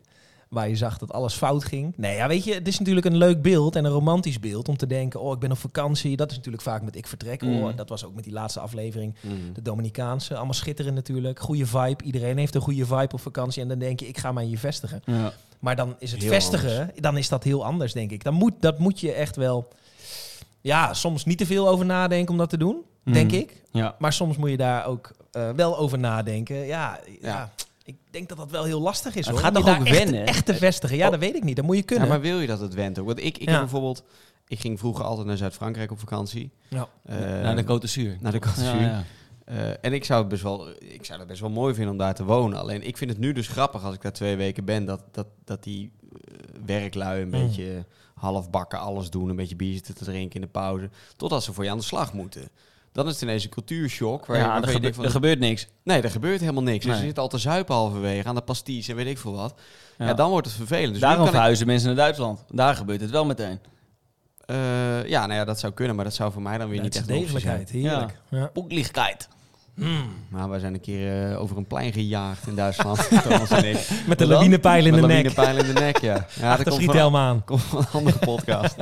Speaker 1: waar je zag dat alles fout ging. Nee, ja, weet je, het is natuurlijk een leuk beeld en een romantisch beeld om te denken, oh, ik ben op vakantie. Dat is natuurlijk vaak met ik vertrek.
Speaker 3: Mm.
Speaker 1: Oh, en dat was ook met die laatste aflevering, de Dominicaanse. Allemaal schitterend natuurlijk, goede vibe. Iedereen heeft een goede vibe op vakantie en dan denk je, ik ga mij hier vestigen.
Speaker 3: Ja.
Speaker 1: Maar dan is het
Speaker 2: Heel
Speaker 1: vestigen, dan is dat heel anders, denk ik. Dan moet, dat moet je echt wel, ja, soms niet te veel over nadenken om dat te doen,
Speaker 3: Mm.
Speaker 1: denk ik.
Speaker 3: Ja.
Speaker 1: Maar soms moet je daar ook eh, wel over nadenken. Ja, ja.
Speaker 2: Ja.
Speaker 1: ik denk dat dat wel heel lastig is.
Speaker 3: Het
Speaker 1: hoor.
Speaker 3: gaat
Speaker 1: Om je
Speaker 3: toch ook
Speaker 1: daar echt-
Speaker 3: wennen?
Speaker 1: Echt, te vestigen. Ja, dat weet ik niet. Dat moet je
Speaker 2: Ja,
Speaker 1: kunnen.
Speaker 2: maar wil je dat het went ook? Want ik, ik
Speaker 1: Ja.
Speaker 2: heb bijvoorbeeld... Ik ging vroeger altijd naar Zuid-Frankrijk op vakantie.
Speaker 1: Ja.
Speaker 2: Eh,
Speaker 3: Naar de Côte d'Azur.
Speaker 2: naar de Côte d'Azur.
Speaker 3: Ja, ja.
Speaker 2: Eh, en ik zou, het best wel, ik zou het best wel mooi vinden om daar te wonen. Alleen ik vind het nu dus grappig als ik daar twee weken ben... dat, dat, dat die eh, werklui een
Speaker 1: Mm.
Speaker 2: beetje halfbakken alles doen... een beetje bier zitten te drinken in de pauze... totdat ze voor je aan de slag moeten. Dan is het ineens een cultuurshock. Waar je,
Speaker 3: Ja,
Speaker 2: waarvan
Speaker 3: er,
Speaker 2: je
Speaker 3: gebe-
Speaker 2: denkt van,
Speaker 3: er gebeurt niks.
Speaker 2: nee, er gebeurt helemaal niks. Dus
Speaker 3: Nee.
Speaker 2: je zit al te zuipen halverwege aan de pasties en weet ik veel wat. Ja.
Speaker 3: Ja.
Speaker 2: dan wordt het vervelend. Dus nu
Speaker 3: Daarom
Speaker 2: kan ik-
Speaker 3: verhuizen mensen naar Duitsland. Daar gebeurt het wel meteen.
Speaker 2: Eh, ja, nou ja, dat zou kunnen, maar dat zou voor mij dan weer
Speaker 1: Ja,
Speaker 2: niet
Speaker 1: het is
Speaker 2: echt een optie zijn.
Speaker 1: degelijkheid. Heerlijk. Ja.
Speaker 3: Boeklichtkeit.
Speaker 2: Maar wij zijn een keer eh, over een plein gejaagd in Duitsland. Thomas en ik.
Speaker 1: Met de
Speaker 3: Wat dan?
Speaker 1: lawinepijl in
Speaker 2: Met
Speaker 1: de nek.
Speaker 2: lawinepijl in de nek, ja. Ja,
Speaker 1: Achter
Speaker 2: dat komt
Speaker 1: Frietelma aan.
Speaker 2: van, komt van een andere podcast.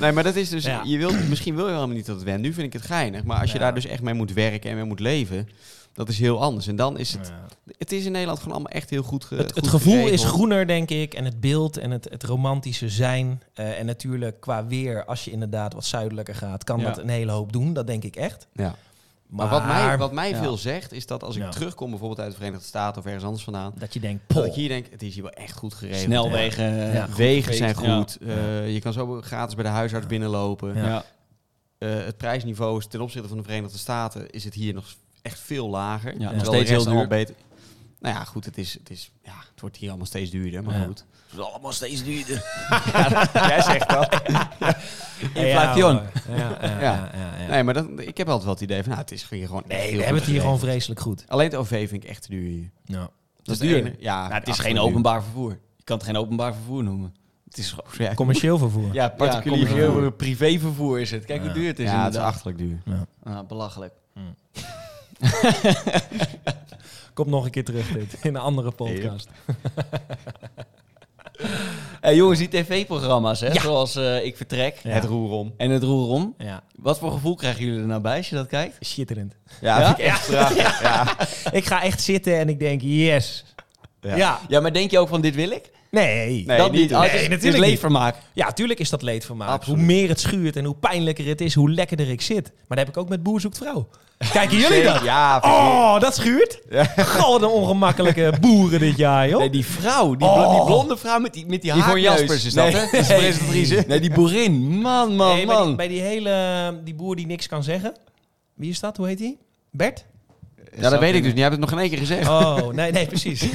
Speaker 2: Nee, maar dat is dus...
Speaker 1: Ja.
Speaker 2: Je wilt, misschien wil je helemaal niet dat het wendt. Nu vind ik het geinig. Maar als je
Speaker 1: Ja.
Speaker 2: daar dus echt mee moet werken en mee moet leven... Dat is heel anders. En dan is het... Het is in Nederland gewoon allemaal echt heel goed ge,
Speaker 1: Het, het
Speaker 2: goed
Speaker 1: gevoel is
Speaker 2: geregeld.
Speaker 1: groener, denk ik. En het beeld en het, het romantische zijn. Eh, en natuurlijk qua weer, als je inderdaad wat zuidelijker gaat, kan
Speaker 3: Ja.
Speaker 1: dat een hele hoop doen. Dat denk ik echt.
Speaker 2: Ja. Maar, wat mij, wat mij
Speaker 3: ja.
Speaker 2: veel zegt, is dat als ik
Speaker 1: Ja.
Speaker 2: terugkom bijvoorbeeld uit de Verenigde Staten of ergens anders vandaan,
Speaker 1: dat je denkt,
Speaker 2: dat
Speaker 1: poh,
Speaker 2: ik hier denk, het is hier wel echt goed geregeld.
Speaker 3: Snelwegen.
Speaker 1: Ja.
Speaker 3: eh,
Speaker 2: Wegen zijn
Speaker 3: Ja.
Speaker 2: goed. Eh, je kan zo gratis bij de huisarts binnenlopen.
Speaker 1: Ja.
Speaker 3: Ja.
Speaker 2: Eh, het prijsniveau is ten opzichte van de Verenigde Staten is het hier nog echt veel lager.
Speaker 3: nog
Speaker 2: Terwijl de
Speaker 3: steeds
Speaker 2: rest
Speaker 3: heel duur.
Speaker 2: allemaal beter. Nou ja, goed, het, is, het, is, ja, het wordt hier allemaal steeds duurder, maar
Speaker 1: Ja.
Speaker 2: goed.
Speaker 3: Het is allemaal steeds duurder.
Speaker 2: Jij zegt dat.
Speaker 3: Inflation.
Speaker 1: Ja, hoor. ja, ja, ja, ja, ja.
Speaker 2: Nee, maar dat, ik heb altijd wel het idee van, nou, het is hier gewoon echt heel
Speaker 1: Nee, we
Speaker 2: goed
Speaker 1: hebben het hier
Speaker 2: geregeld.
Speaker 1: gewoon vreselijk goed.
Speaker 2: Alleen het OV vind ik echt te duur hier.
Speaker 1: Ja.
Speaker 3: Dat is
Speaker 2: het
Speaker 3: duur.
Speaker 2: enige- Ja,
Speaker 3: Nou, het is
Speaker 2: ach,
Speaker 3: geen
Speaker 2: duur.
Speaker 3: openbaar vervoer. Je kan het geen openbaar vervoer noemen. Het is gewoon...
Speaker 2: Ja,
Speaker 1: Commercieel vervoer.
Speaker 3: Ja,
Speaker 2: particulier
Speaker 3: commercieel
Speaker 2: vervoer.
Speaker 3: privévervoer is het. Kijk
Speaker 1: Ja.
Speaker 3: hoe duur het is
Speaker 2: ja, het is
Speaker 3: inderdaad.
Speaker 2: achterlijk duur.
Speaker 3: Ah, belachelijk.
Speaker 1: Kom nog een keer terug dit, in een andere podcast.
Speaker 3: Hey, jongens, die tv-programma's, hè,
Speaker 1: Ja.
Speaker 3: zoals eh, Ik Vertrek
Speaker 1: Ja.
Speaker 2: Het roer om.
Speaker 3: en Het Roer Om.
Speaker 1: Ja,
Speaker 3: Wat voor gevoel krijgen jullie er nou bij als je dat kijkt?
Speaker 1: schitterend.
Speaker 2: Ja,
Speaker 3: Ah, Ja?
Speaker 2: vind ik echt prachtig. Ja.
Speaker 1: ik ga echt zitten en ik denk, yes.
Speaker 2: Ja.
Speaker 3: Ja. ja, maar denk je ook van dit wil ik?
Speaker 1: Nee.
Speaker 2: Nee,
Speaker 3: dat
Speaker 2: niet doen.
Speaker 3: Oh, het
Speaker 1: Nee,
Speaker 3: is- het is
Speaker 1: natuurlijk niet.
Speaker 3: leedvermaak.
Speaker 1: Ja, tuurlijk is dat leedvermaak.
Speaker 2: Absoluut.
Speaker 1: Hoe meer het schuurt en hoe pijnlijker het is, hoe lekkerder ik zit. Maar dat heb ik ook met Boer zoekt vrouw. Kijken jullie dat?
Speaker 2: Ja, vind ik-
Speaker 1: Oh, dat schuurt? Gal, wat een ongemakkelijke boeren dit jaar, joh.
Speaker 3: Nee, die vrouw, die, bl-
Speaker 1: Oh.
Speaker 3: die blonde vrouw met die, met die
Speaker 2: Yvonne
Speaker 3: haakneus.
Speaker 2: Jaspers is dat,
Speaker 3: nee.
Speaker 2: hè? Dat is de presentatrice.
Speaker 3: Nee, die boerin. Man, man,
Speaker 1: Nee, bij,
Speaker 3: man.
Speaker 1: Die, bij die hele die boer die niks kan zeggen. Wie is dat? Hoe heet die? Bert?
Speaker 2: Ja, dat weet ik dus niet. Jij hebt het nog geen één keer gezegd.
Speaker 1: Oh, nee, nee, precies.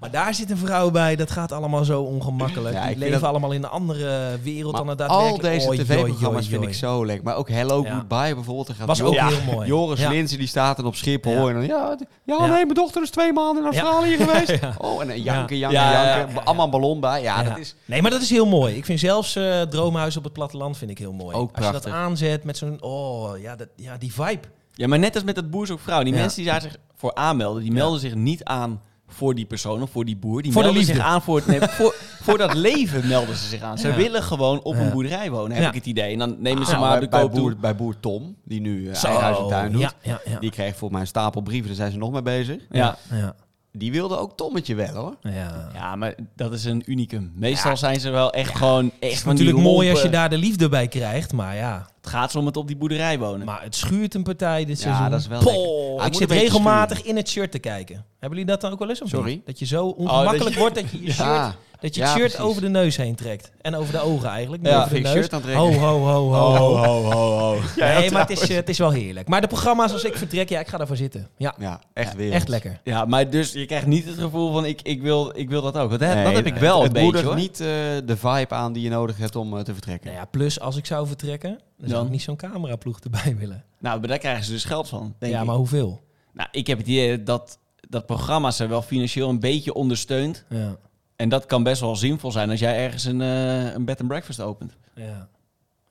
Speaker 1: maar daar zit een vrouw bij. Dat gaat allemaal zo ongemakkelijk.
Speaker 2: Ja, ik
Speaker 1: die
Speaker 2: vind
Speaker 1: leven
Speaker 2: dat-
Speaker 1: allemaal in een andere wereld
Speaker 2: Maar
Speaker 1: dan het
Speaker 2: al
Speaker 1: daadwerkelijk...
Speaker 2: deze
Speaker 1: Oei, oei,
Speaker 2: tv-programma's
Speaker 1: oei,
Speaker 2: vind ik
Speaker 1: oei.
Speaker 2: zo lekker. Maar ook Hello
Speaker 1: Ja.
Speaker 2: Goodbye bijvoorbeeld. daar gaat
Speaker 1: Was
Speaker 2: Jo-
Speaker 1: ook
Speaker 2: Ja.
Speaker 1: heel mooi.
Speaker 2: Joris
Speaker 1: Ja.
Speaker 2: Linsen die staat dan op Schiphol.
Speaker 1: Ja.
Speaker 2: En dan, ja, d- ja,
Speaker 1: Ja.
Speaker 2: nee, mijn dochter is twee maanden in
Speaker 1: Ja.
Speaker 2: Australië geweest. Oh, en dan janken, janken,
Speaker 3: Ja, ja, ja,
Speaker 2: janken. Allemaal een ballon bij. Ja,
Speaker 1: Ja.
Speaker 2: dat is...
Speaker 1: Nee, maar dat is heel mooi. Ik vind zelfs eh, Droomhuis op het platteland vind ik heel mooi.
Speaker 2: Ook
Speaker 1: Als je dat
Speaker 2: prachtig.
Speaker 1: aanzet met zo'n... Oh, ja, dat, ja die vibe.
Speaker 3: Ja, maar net als met dat boer zoekt vrouw. Die
Speaker 1: Ja.
Speaker 3: mensen die daar zich voor aanmelden, die melden zich niet aan voor die persoon of voor die boer. Die
Speaker 1: Voor de
Speaker 3: melden zich
Speaker 1: liefde.
Speaker 3: aan voor, het, nee, voor, voor dat leven melden ze zich aan. Ze
Speaker 1: Ja.
Speaker 3: willen gewoon op
Speaker 1: Ja.
Speaker 3: een boerderij wonen, heb
Speaker 1: Ja. Ah,
Speaker 3: ik het idee. En dan nemen ze
Speaker 2: Nou,
Speaker 3: maar
Speaker 2: bij-
Speaker 3: de
Speaker 2: bij,
Speaker 3: koop
Speaker 2: boer,
Speaker 3: toe.
Speaker 2: bij boer Tom, die nu eh,
Speaker 1: Zo.
Speaker 2: eigen huis en tuin doet.
Speaker 1: Oh, Ja, ja, ja.
Speaker 2: Die kreeg volgens mij een stapel brieven. Daar zijn ze nog mee bezig.
Speaker 3: Ja.
Speaker 1: Ja,
Speaker 2: Die wilde ook Tommetje wel, hoor.
Speaker 1: ja.
Speaker 3: ja, maar dat is een unicum. Meestal zijn ze wel echt gewoon... Echt
Speaker 1: Het is
Speaker 3: van die
Speaker 1: natuurlijk mooi als je
Speaker 3: lompe-
Speaker 1: daar de liefde bij krijgt, maar ja.
Speaker 3: Het gaat ze om het op die boerderij wonen.
Speaker 1: Maar het schuurt een partij dit
Speaker 2: Ja,
Speaker 1: seizoen.
Speaker 2: dat is wel
Speaker 1: Poh,
Speaker 2: lekker. Hij
Speaker 1: ik
Speaker 2: moet
Speaker 1: zit
Speaker 2: een beetje
Speaker 1: regelmatig in het shirt te kijken. Hebben jullie dat dan ook wel eens? Of
Speaker 2: Sorry? Oh,
Speaker 1: niet? Dat je zo ongemakkelijk
Speaker 3: dat je-
Speaker 1: wordt dat je je shirt,
Speaker 2: Ja.
Speaker 1: dat je
Speaker 2: Ja,
Speaker 1: het shirt
Speaker 2: precies.
Speaker 1: over de neus heen trekt. En over de ogen eigenlijk. Niet
Speaker 2: Ja,
Speaker 1: over de
Speaker 2: vind ik
Speaker 1: neus.
Speaker 2: shirt aan het
Speaker 1: ho,
Speaker 2: trekken. Oh,
Speaker 1: ho, ho, ho. ho.
Speaker 2: ho, ho, ho.
Speaker 1: nee, maar het is, eh, het is wel heerlijk. Maar de programma's als ik vertrek, ja, ik ga daarvoor zitten. Ja,
Speaker 2: Ja, echt weer.
Speaker 1: echt lekker.
Speaker 3: Ja, maar dus je krijgt niet het gevoel van ik, ik, wil, ik wil dat ook. Want dat,
Speaker 2: Nee,
Speaker 3: dat heb ik wel
Speaker 2: het,
Speaker 3: een
Speaker 2: het
Speaker 3: beetje
Speaker 2: moedigt
Speaker 3: hoor.
Speaker 2: niet eh, de vibe aan die je nodig hebt om eh, te vertrekken.
Speaker 1: Nou ja, plus als ik zou vertrekken, dan zou
Speaker 3: Dan?
Speaker 1: ik niet zo'n cameraploeg erbij willen.
Speaker 3: Nou, maar daar krijgen ze dus geld van, denk
Speaker 1: ja,
Speaker 3: ik.
Speaker 1: maar hoeveel?
Speaker 3: Nou, ik heb het idee dat, dat programma's zijn wel financieel een beetje ondersteund.
Speaker 1: Ja.
Speaker 3: En dat kan best wel zinvol zijn als jij ergens een, eh, een bed and breakfast opent.
Speaker 1: Ja.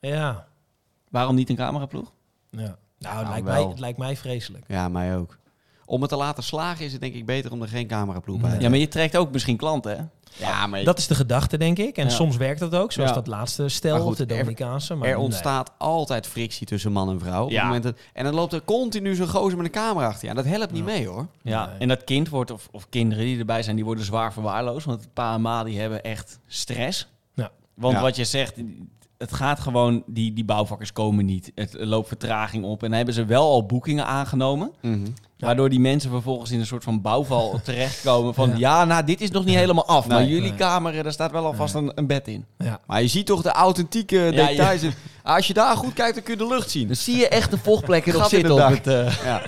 Speaker 1: Ja.
Speaker 3: Waarom niet een cameraploeg?
Speaker 1: ja. Nou, het,
Speaker 2: Nou,
Speaker 1: lijkt
Speaker 2: wel.
Speaker 1: mij, het lijkt mij vreselijk.
Speaker 2: Ja, mij ook. Om het te laten slagen is het denk ik beter om er geen cameraploeg bij te
Speaker 3: Ja, maar je trekt ook misschien klanten, hè?
Speaker 2: hebben. Ja, maar
Speaker 1: Dat is de gedachte, denk ik. En
Speaker 3: Ja.
Speaker 1: soms werkt dat ook, zoals
Speaker 3: Ja.
Speaker 1: dat laatste stel,
Speaker 2: Maar goed,
Speaker 1: de
Speaker 2: er-
Speaker 1: Dominicaanse. Maar
Speaker 2: er
Speaker 1: nee.
Speaker 2: ontstaat altijd frictie tussen man en vrouw. Op
Speaker 3: Ja.
Speaker 2: het moment dat, en dan loopt er continu zo'n gozer met een camera achter je. aan. Dat helpt niet mee hoor.
Speaker 3: Ja,
Speaker 1: Nee.
Speaker 3: en dat kind wordt, of, of kinderen die erbij zijn, die worden zwaar verwaarloosd. Want pa en ma die hebben echt stress.
Speaker 1: Ja.
Speaker 3: Want
Speaker 2: Ja.
Speaker 3: wat je zegt, het gaat gewoon, die, die bouwvakkers komen niet. Het loopt vertraging op. En dan hebben ze wel al boekingen aangenomen. Waardoor die mensen vervolgens in een soort van bouwval terechtkomen. Van ja, nou, dit is nog niet helemaal af. maar
Speaker 2: Nee,
Speaker 3: jullie
Speaker 1: nee.
Speaker 3: kamer, daar staat wel alvast een, een bed in.
Speaker 1: Ja.
Speaker 2: Maar je ziet toch de authentieke
Speaker 3: ja.
Speaker 2: details. Als je daar goed kijkt, dan kun je de lucht zien.
Speaker 3: Dus zie je echt de vochtplekken erop
Speaker 2: Gat in
Speaker 3: zitten.
Speaker 2: de
Speaker 3: Op
Speaker 2: dak.
Speaker 3: het, eh,
Speaker 2: Ja.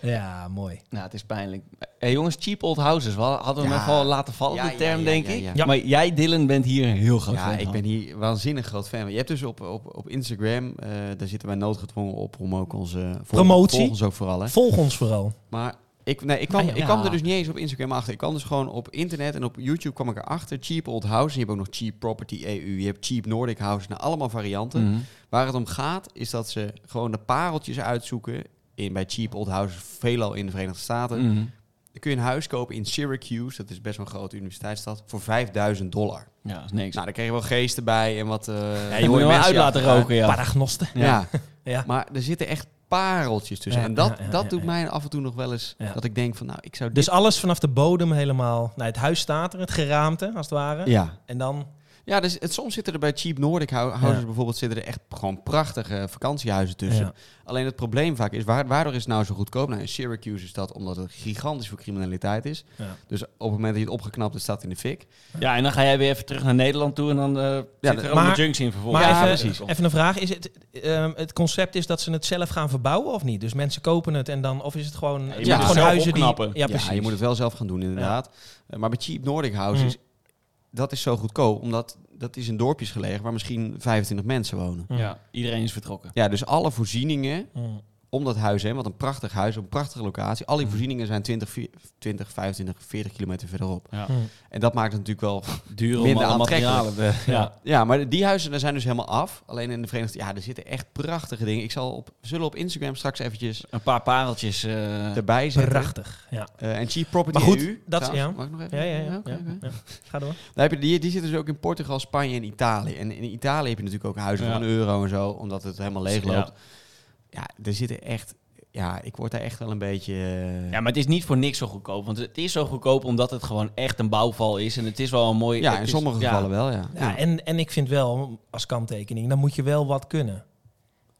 Speaker 1: ja, mooi.
Speaker 3: Nou, het is pijnlijk. Hé jongens, cheap old houses. We hadden hem
Speaker 2: Ja.
Speaker 3: even al laten vallen,
Speaker 2: Ja,
Speaker 3: de
Speaker 2: ja,
Speaker 3: term,
Speaker 2: ja,
Speaker 3: denk
Speaker 2: ja,
Speaker 3: ik.
Speaker 2: ja.
Speaker 1: Ja.
Speaker 3: Maar jij, Dylan, bent hier een heel groot
Speaker 2: Ja,
Speaker 3: fan
Speaker 2: ik
Speaker 3: van.
Speaker 2: ben hier waanzinnig groot fan van. Je hebt dus op, op, op Instagram, eh, daar zitten wij noodgedwongen op om ook onze... volg-
Speaker 1: Promotie.
Speaker 2: Volg ons ook vooral hè.
Speaker 1: Volg ons vooral.
Speaker 2: Maar ik, nee, ik, kwam,
Speaker 3: Ah, ja.
Speaker 2: ik kwam
Speaker 3: Ja.
Speaker 2: er dus niet eens op Instagram achter. Ik kwam dus gewoon op internet en op YouTube kwam ik erachter. Cheap Old House. En je hebt ook nog Cheap Property EU. Je hebt Cheap Nordic House. Nou, allemaal varianten.
Speaker 1: Mm.
Speaker 3: Mhm.
Speaker 2: Waar het om gaat, is dat ze
Speaker 1: Mm.
Speaker 2: gewoon de pareltjes uitzoeken. In, bij Cheap Old House, veelal in de Verenigde Staten.
Speaker 3: Mhm.
Speaker 2: Dan kun je een huis kopen in Syracuse, dat is best wel een grote universiteitsstad, voor 5000 dollar.
Speaker 3: Ja, dat is niks.
Speaker 2: Nou, daar kreeg je wel geesten bij en wat... eh,
Speaker 3: ja,
Speaker 2: mooie
Speaker 3: je moet je wel
Speaker 2: mensen
Speaker 3: uit laten
Speaker 2: achter elkaar.
Speaker 3: roken, ja.
Speaker 1: Paragnosten.
Speaker 3: Ja.
Speaker 2: Ja.
Speaker 1: Ja.
Speaker 2: maar er zitten echt pareltjes tussen.
Speaker 1: Ja,
Speaker 2: en dat,
Speaker 1: ja, ja,
Speaker 2: dat
Speaker 1: ja,
Speaker 2: doet
Speaker 1: ja.
Speaker 2: mij af en toe nog wel eens
Speaker 1: Ja.
Speaker 2: dat ik denk van, nou, ik zou dit...
Speaker 1: Dus alles vanaf de bodem helemaal. Nou, het huis staat er, het geraamte als het ware.
Speaker 2: ja.
Speaker 1: En dan.
Speaker 2: Ja, dus het, soms zitten er bij Cheap Nordic hou- houders bijvoorbeeld zitten er echt gewoon prachtige vakantiehuizen tussen.
Speaker 1: Ja.
Speaker 2: Alleen het probleem vaak is, waar, waardoor is het nou zo goedkoop? Nou, in Syracuse is dat omdat het gigantisch voor criminaliteit is.
Speaker 1: Ja.
Speaker 2: Dus op het moment dat je het opgeknapt hebt, staat het in de fik.
Speaker 3: Ja, en dan ga jij weer even terug naar Nederland toe en dan eh zit er allemaal
Speaker 1: maar-
Speaker 3: junks in vervolgens.
Speaker 1: Maar
Speaker 2: Ja,
Speaker 1: even,
Speaker 2: precies.
Speaker 1: even een vraag: is het, ehm, het concept is dat ze het zelf gaan verbouwen of niet? Dus mensen kopen het en dan. Of is het gewoon. het
Speaker 3: je
Speaker 1: zijn
Speaker 2: moet het
Speaker 1: gewoon
Speaker 3: zelf
Speaker 1: huizen
Speaker 3: opknappen.
Speaker 1: die. Ja, precies.
Speaker 2: je moet het wel zelf gaan doen inderdaad. Eh, maar bij Cheap Nordic House
Speaker 1: Mhm.
Speaker 2: is, dat is zo goedkoop, omdat dat is in dorpjes gelegen waar misschien 25 mensen wonen.
Speaker 1: Hm.
Speaker 3: Ja, iedereen is vertrokken.
Speaker 2: Ja, dus alle voorzieningen
Speaker 1: Hm.
Speaker 2: om dat huis heen, want een prachtig huis, op een prachtige locatie. Al die
Speaker 1: Mhm.
Speaker 2: voorzieningen zijn 20, vier- 20 25, 40 kilometer verderop.
Speaker 3: Ja.
Speaker 1: Hm.
Speaker 2: En dat maakt het natuurlijk wel
Speaker 3: Duur om
Speaker 2: Minder
Speaker 3: alle
Speaker 2: aantrekkelijk.
Speaker 3: materialen. te- ja.
Speaker 2: Ja, maar die huizen daar zijn dus helemaal af. Alleen in de Verenigde ja, er zitten echt prachtige dingen. Ik zal op, we zullen op Instagram straks eventjes
Speaker 3: Een paar pareltjes. eh,
Speaker 2: erbij zetten.
Speaker 1: Prachtig. Ja.
Speaker 2: Eh, en Cheap Property
Speaker 1: Maar goed,
Speaker 2: EU.
Speaker 1: dat-
Speaker 2: trouwens.
Speaker 1: ja.
Speaker 2: Mag ik nog even?
Speaker 1: Ja, ja, ja.
Speaker 2: oké,
Speaker 1: ja,
Speaker 2: oké.
Speaker 1: ja. Ga door.
Speaker 2: Daar heb je, die, die zitten dus ook in Portugal, Spanje en Italië. En in Italië heb je natuurlijk ook huizen
Speaker 3: Ja.
Speaker 2: van een euro en zo, omdat het helemaal
Speaker 1: Dus
Speaker 2: leeg
Speaker 3: Ja.
Speaker 2: loopt. Ja, er zitten echt... Ja, ik word daar echt wel een beetje... eh,
Speaker 3: Ja, maar het is niet voor niks zo goedkoop. Want het is zo goedkoop omdat het gewoon echt een bouwval is. En het is wel een mooi...
Speaker 2: ja,
Speaker 3: het
Speaker 2: in
Speaker 3: is-
Speaker 2: sommige
Speaker 3: ja,
Speaker 2: gevallen wel, ja.
Speaker 1: Ja,
Speaker 2: Ja,
Speaker 1: en, en ik vind wel, als kanttekening, dan moet je wel wat kunnen.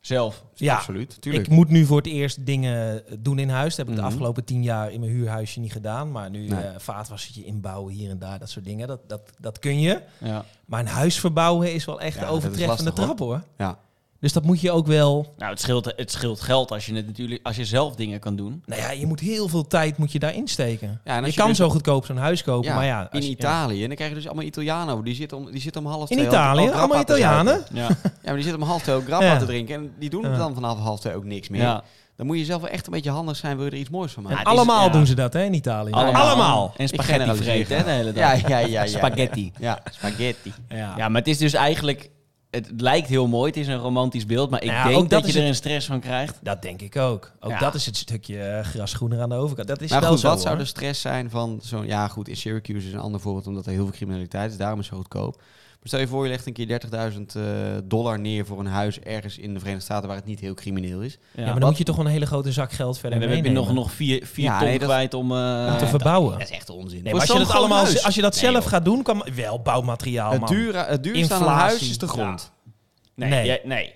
Speaker 3: Zelf.
Speaker 1: Ja,
Speaker 2: absoluut. Tuurlijk.
Speaker 1: Ik moet nu voor het eerst dingen doen in huis. Dat heb ik
Speaker 2: Mhm.
Speaker 1: de afgelopen tien jaar in mijn huurhuisje niet gedaan. Maar nu
Speaker 2: Nee.
Speaker 1: eh vaatwassertje inbouwen hier en daar, dat soort dingen. Dat, dat, dat kun je.
Speaker 3: Ja.
Speaker 1: Maar een huis verbouwen is wel echt
Speaker 2: Ja,
Speaker 1: de
Speaker 2: dat is
Speaker 1: overtreffende
Speaker 2: lastig, hoor.
Speaker 1: trap hoor.
Speaker 2: Ja.
Speaker 1: Dus dat moet je ook wel.
Speaker 3: Nou, het scheelt, het scheelt geld als je, het natuurlijk, als je zelf dingen kan doen.
Speaker 1: Nou ja, je moet heel veel tijd moet je daarin steken.
Speaker 2: Ja, en
Speaker 1: je,
Speaker 2: als je
Speaker 1: kan
Speaker 2: dus-
Speaker 1: zo goedkoop zo'n huis kopen. maar ja,
Speaker 2: in
Speaker 1: Eh, als je-
Speaker 2: Italië. En dan krijg je dus allemaal Italianen. Die zitten om, die zitten om half
Speaker 1: In
Speaker 2: twee al- al
Speaker 1: Italië,
Speaker 2: grappa
Speaker 1: allemaal
Speaker 2: te zuipen.
Speaker 1: Italianen.
Speaker 3: Ja.
Speaker 2: Ja, maar die zitten om half twee ook grappa
Speaker 1: Ja.
Speaker 2: te drinken. En die doen
Speaker 1: Ja.
Speaker 2: dan vanaf half twee ook niks meer.
Speaker 3: ja.
Speaker 2: Dan moet je zelf wel echt een beetje handig zijn. Wil je er iets moois van
Speaker 1: En
Speaker 2: maken?
Speaker 3: het is-
Speaker 1: allemaal
Speaker 3: ja.
Speaker 1: doen ze dat hè, in Italië.
Speaker 2: Allemaal.
Speaker 3: En
Speaker 2: Ik
Speaker 3: spaghetti
Speaker 2: generaliseer
Speaker 3: vreten hè, de hele dag.
Speaker 2: Ja, ja, ja. ja, ja.
Speaker 3: Spaghetti.
Speaker 2: Ja, spaghetti.
Speaker 1: Ja.
Speaker 3: Ja, maar het is dus eigenlijk... Het lijkt heel mooi, het is een romantisch beeld, maar ik
Speaker 1: Ja,
Speaker 3: denk
Speaker 1: ook
Speaker 3: dat,
Speaker 1: dat
Speaker 3: je
Speaker 1: is
Speaker 3: er
Speaker 1: het-
Speaker 3: een stress van krijgt.
Speaker 1: Dat denk ik ook. Ook
Speaker 3: Ja.
Speaker 1: dat is het stukje eh, grasgroener aan de overkant. Dat is
Speaker 2: Maar
Speaker 1: wel
Speaker 2: goed,
Speaker 1: zo.
Speaker 2: wat zou
Speaker 1: hoor.
Speaker 2: de stress zijn van zo'n... Ja, goed, in Syracuse is een ander voorbeeld, omdat er heel veel criminaliteit is. Daarom is het zo goedkoop. Maar stel je voor, je legt een keer 30.000 eh, dollar neer voor een huis ergens in de Verenigde Staten waar het niet heel crimineel is.
Speaker 1: ja, maar dan moet je toch wel een hele grote zak geld verder
Speaker 3: En dan heb je
Speaker 1: meenemen.
Speaker 3: nog, nog vier, vier
Speaker 2: Ja,
Speaker 3: ton
Speaker 2: nee, dat-
Speaker 3: kwijt om... eh,
Speaker 1: om te verbouwen.
Speaker 2: Dat is echt onzin.
Speaker 1: Nee,
Speaker 2: Voor
Speaker 1: maar als je,
Speaker 2: zo'n
Speaker 1: dat
Speaker 2: groot
Speaker 1: allemaal,
Speaker 2: huis.
Speaker 1: als je dat zelf
Speaker 2: joh.
Speaker 1: gaat doen, kan wel bouwmateriaal,
Speaker 2: het,
Speaker 1: man.
Speaker 2: duur, het duurste aan een
Speaker 1: Inflatie.
Speaker 2: huis is de grond.
Speaker 3: Nee.
Speaker 1: Nee.
Speaker 3: jij- nee.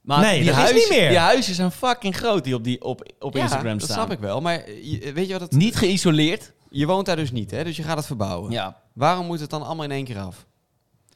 Speaker 3: Maar
Speaker 1: Nee, dat is
Speaker 3: huizen,
Speaker 1: niet meer.
Speaker 3: Die huizen zijn fucking groot die op, die, op, op
Speaker 2: Ja,
Speaker 3: Instagram
Speaker 2: dat
Speaker 3: staan.
Speaker 2: snap ik wel. Maar eh, je, weet je wat het...
Speaker 3: Niet geïsoleerd.
Speaker 2: Je woont daar dus niet, hè? Dus je gaat het verbouwen.
Speaker 3: Ja.
Speaker 2: Waarom moet het dan allemaal in één keer af?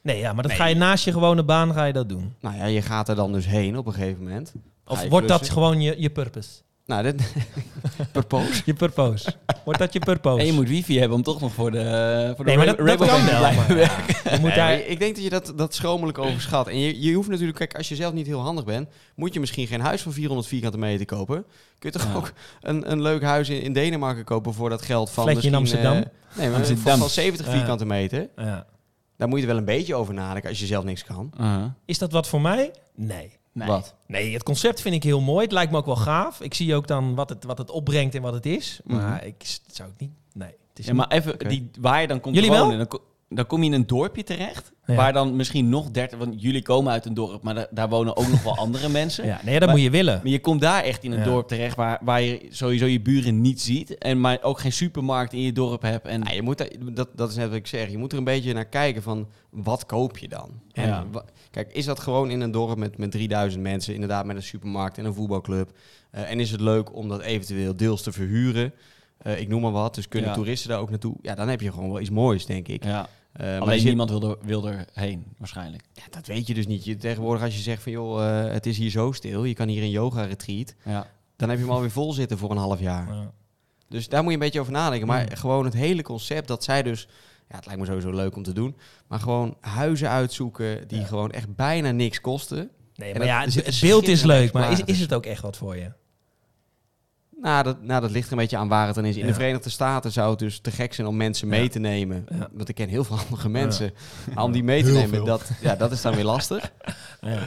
Speaker 1: Nee, ja, maar dat
Speaker 3: Nee.
Speaker 1: ga je naast je gewone baan ga je dat doen.
Speaker 2: Nou ja, je gaat er dan dus heen op een gegeven moment.
Speaker 1: Of
Speaker 2: Ga je
Speaker 1: wordt dat
Speaker 2: klussen?
Speaker 1: gewoon je, je purpose?
Speaker 2: Nou, dit... Purpose.
Speaker 1: Je purpose. wordt dat je purpose?
Speaker 3: En je moet wifi hebben om toch nog voor de, eh, voor de
Speaker 1: Oh, nee, maar dat,
Speaker 3: Ra-
Speaker 1: dat
Speaker 3: Rabobank
Speaker 1: kan
Speaker 3: te
Speaker 1: wel.
Speaker 3: blijven.
Speaker 1: maar ja. Je moet daar...
Speaker 2: ik denk dat je dat, dat schromelijk overschat. En je, je hoeft natuurlijk... Kijk, als je zelf niet heel handig bent... moet je misschien geen huis van 400 vierkante meter kopen. Kun je toch
Speaker 3: Ja.
Speaker 2: ook een, een leuk huis in, in Denemarken kopen... voor dat geld van
Speaker 1: Flatje in
Speaker 2: misschien, eh,
Speaker 1: Amsterdam?
Speaker 2: nee, maar
Speaker 3: Amsterdam.
Speaker 2: van- van 70
Speaker 1: Ja.
Speaker 2: vierkante meter.
Speaker 1: Ja.
Speaker 2: Daar moet je wel een beetje over nadenken... als je zelf niks kan.
Speaker 3: Uh-huh.
Speaker 1: Is dat wat voor mij? Nee.
Speaker 3: Nee.
Speaker 2: Wat?
Speaker 1: Nee, het concept vind ik heel mooi. Het lijkt me ook wel gaaf. Ik zie ook dan wat het, wat het opbrengt en wat het is. Maar
Speaker 2: Mhm.
Speaker 1: ik s- zou het niet... Nee. Het is
Speaker 3: Ja, maar even,
Speaker 2: Oké.
Speaker 3: die, waar je dan komt
Speaker 1: Jullie
Speaker 3: wonen, Dan, ko- dan kom je in een dorpje terecht,
Speaker 1: Ja.
Speaker 3: waar dan misschien nog 30, want jullie komen uit een dorp, maar da- daar wonen ook nog wel andere mensen.
Speaker 1: niet- ja, nee, dat moet je willen.
Speaker 3: Maar je komt daar echt in een
Speaker 1: Ja.
Speaker 3: dorp terecht waar, waar je sowieso je buren niet ziet, en maar ook geen supermarkt in je dorp hebt. En,
Speaker 2: Ja, Nou, je moet daar- dat, dat is net wat ik zeg. Je moet er een beetje naar kijken van wat koop je dan? En
Speaker 3: Ja.
Speaker 2: wa- kijk, is dat gewoon in een dorp met, met 3000 mensen, inderdaad met een supermarkt en een voetbalclub? Eh, en is het leuk om dat eventueel deels te verhuren? Eh, ik noem maar wat. Dus kunnen
Speaker 3: Ja.
Speaker 2: toeristen daar ook naartoe? Ja, dan heb je gewoon wel iets moois, denk ik.
Speaker 3: ja.
Speaker 2: Eh, maar
Speaker 3: Alleen
Speaker 2: je zit-
Speaker 3: niemand wil, er, wil erheen, waarschijnlijk.
Speaker 2: ja, dat weet je dus niet. Je, tegenwoordig als je zegt van joh, eh, het is hier zo stil, je kan hier een yoga retreat.
Speaker 3: Ja.
Speaker 2: Dan heb je hem alweer vol zitten voor een half jaar.
Speaker 1: Ja.
Speaker 2: Dus daar moet je een beetje over nadenken. Maar
Speaker 1: Mm.
Speaker 2: gewoon het hele concept dat zij dus... Ja, het lijkt me sowieso leuk om te doen. Maar gewoon huizen uitzoeken die
Speaker 1: Ja.
Speaker 2: gewoon echt bijna niks kosten.
Speaker 1: Nee,
Speaker 2: En
Speaker 1: maar
Speaker 2: dat-
Speaker 1: ja,
Speaker 2: er
Speaker 1: het,
Speaker 2: zit
Speaker 1: het
Speaker 2: een
Speaker 1: beeld is
Speaker 2: schitterende
Speaker 1: leuk, maar is,
Speaker 2: exemplaar
Speaker 1: is het ook echt wat voor je?
Speaker 2: Nou dat, nou, dat ligt er een beetje aan waar het dan is. In de
Speaker 1: Ja.
Speaker 2: Verenigde Staten zou het dus te gek zijn om mensen mee
Speaker 1: Ja.
Speaker 2: te nemen.
Speaker 1: Ja.
Speaker 2: Want ik ken heel veel handige mensen. Maar om die mee te
Speaker 1: Heel
Speaker 2: nemen,
Speaker 1: veel.
Speaker 2: dat, ja, dat is dan weer lastig.
Speaker 1: Ja.
Speaker 2: Eh,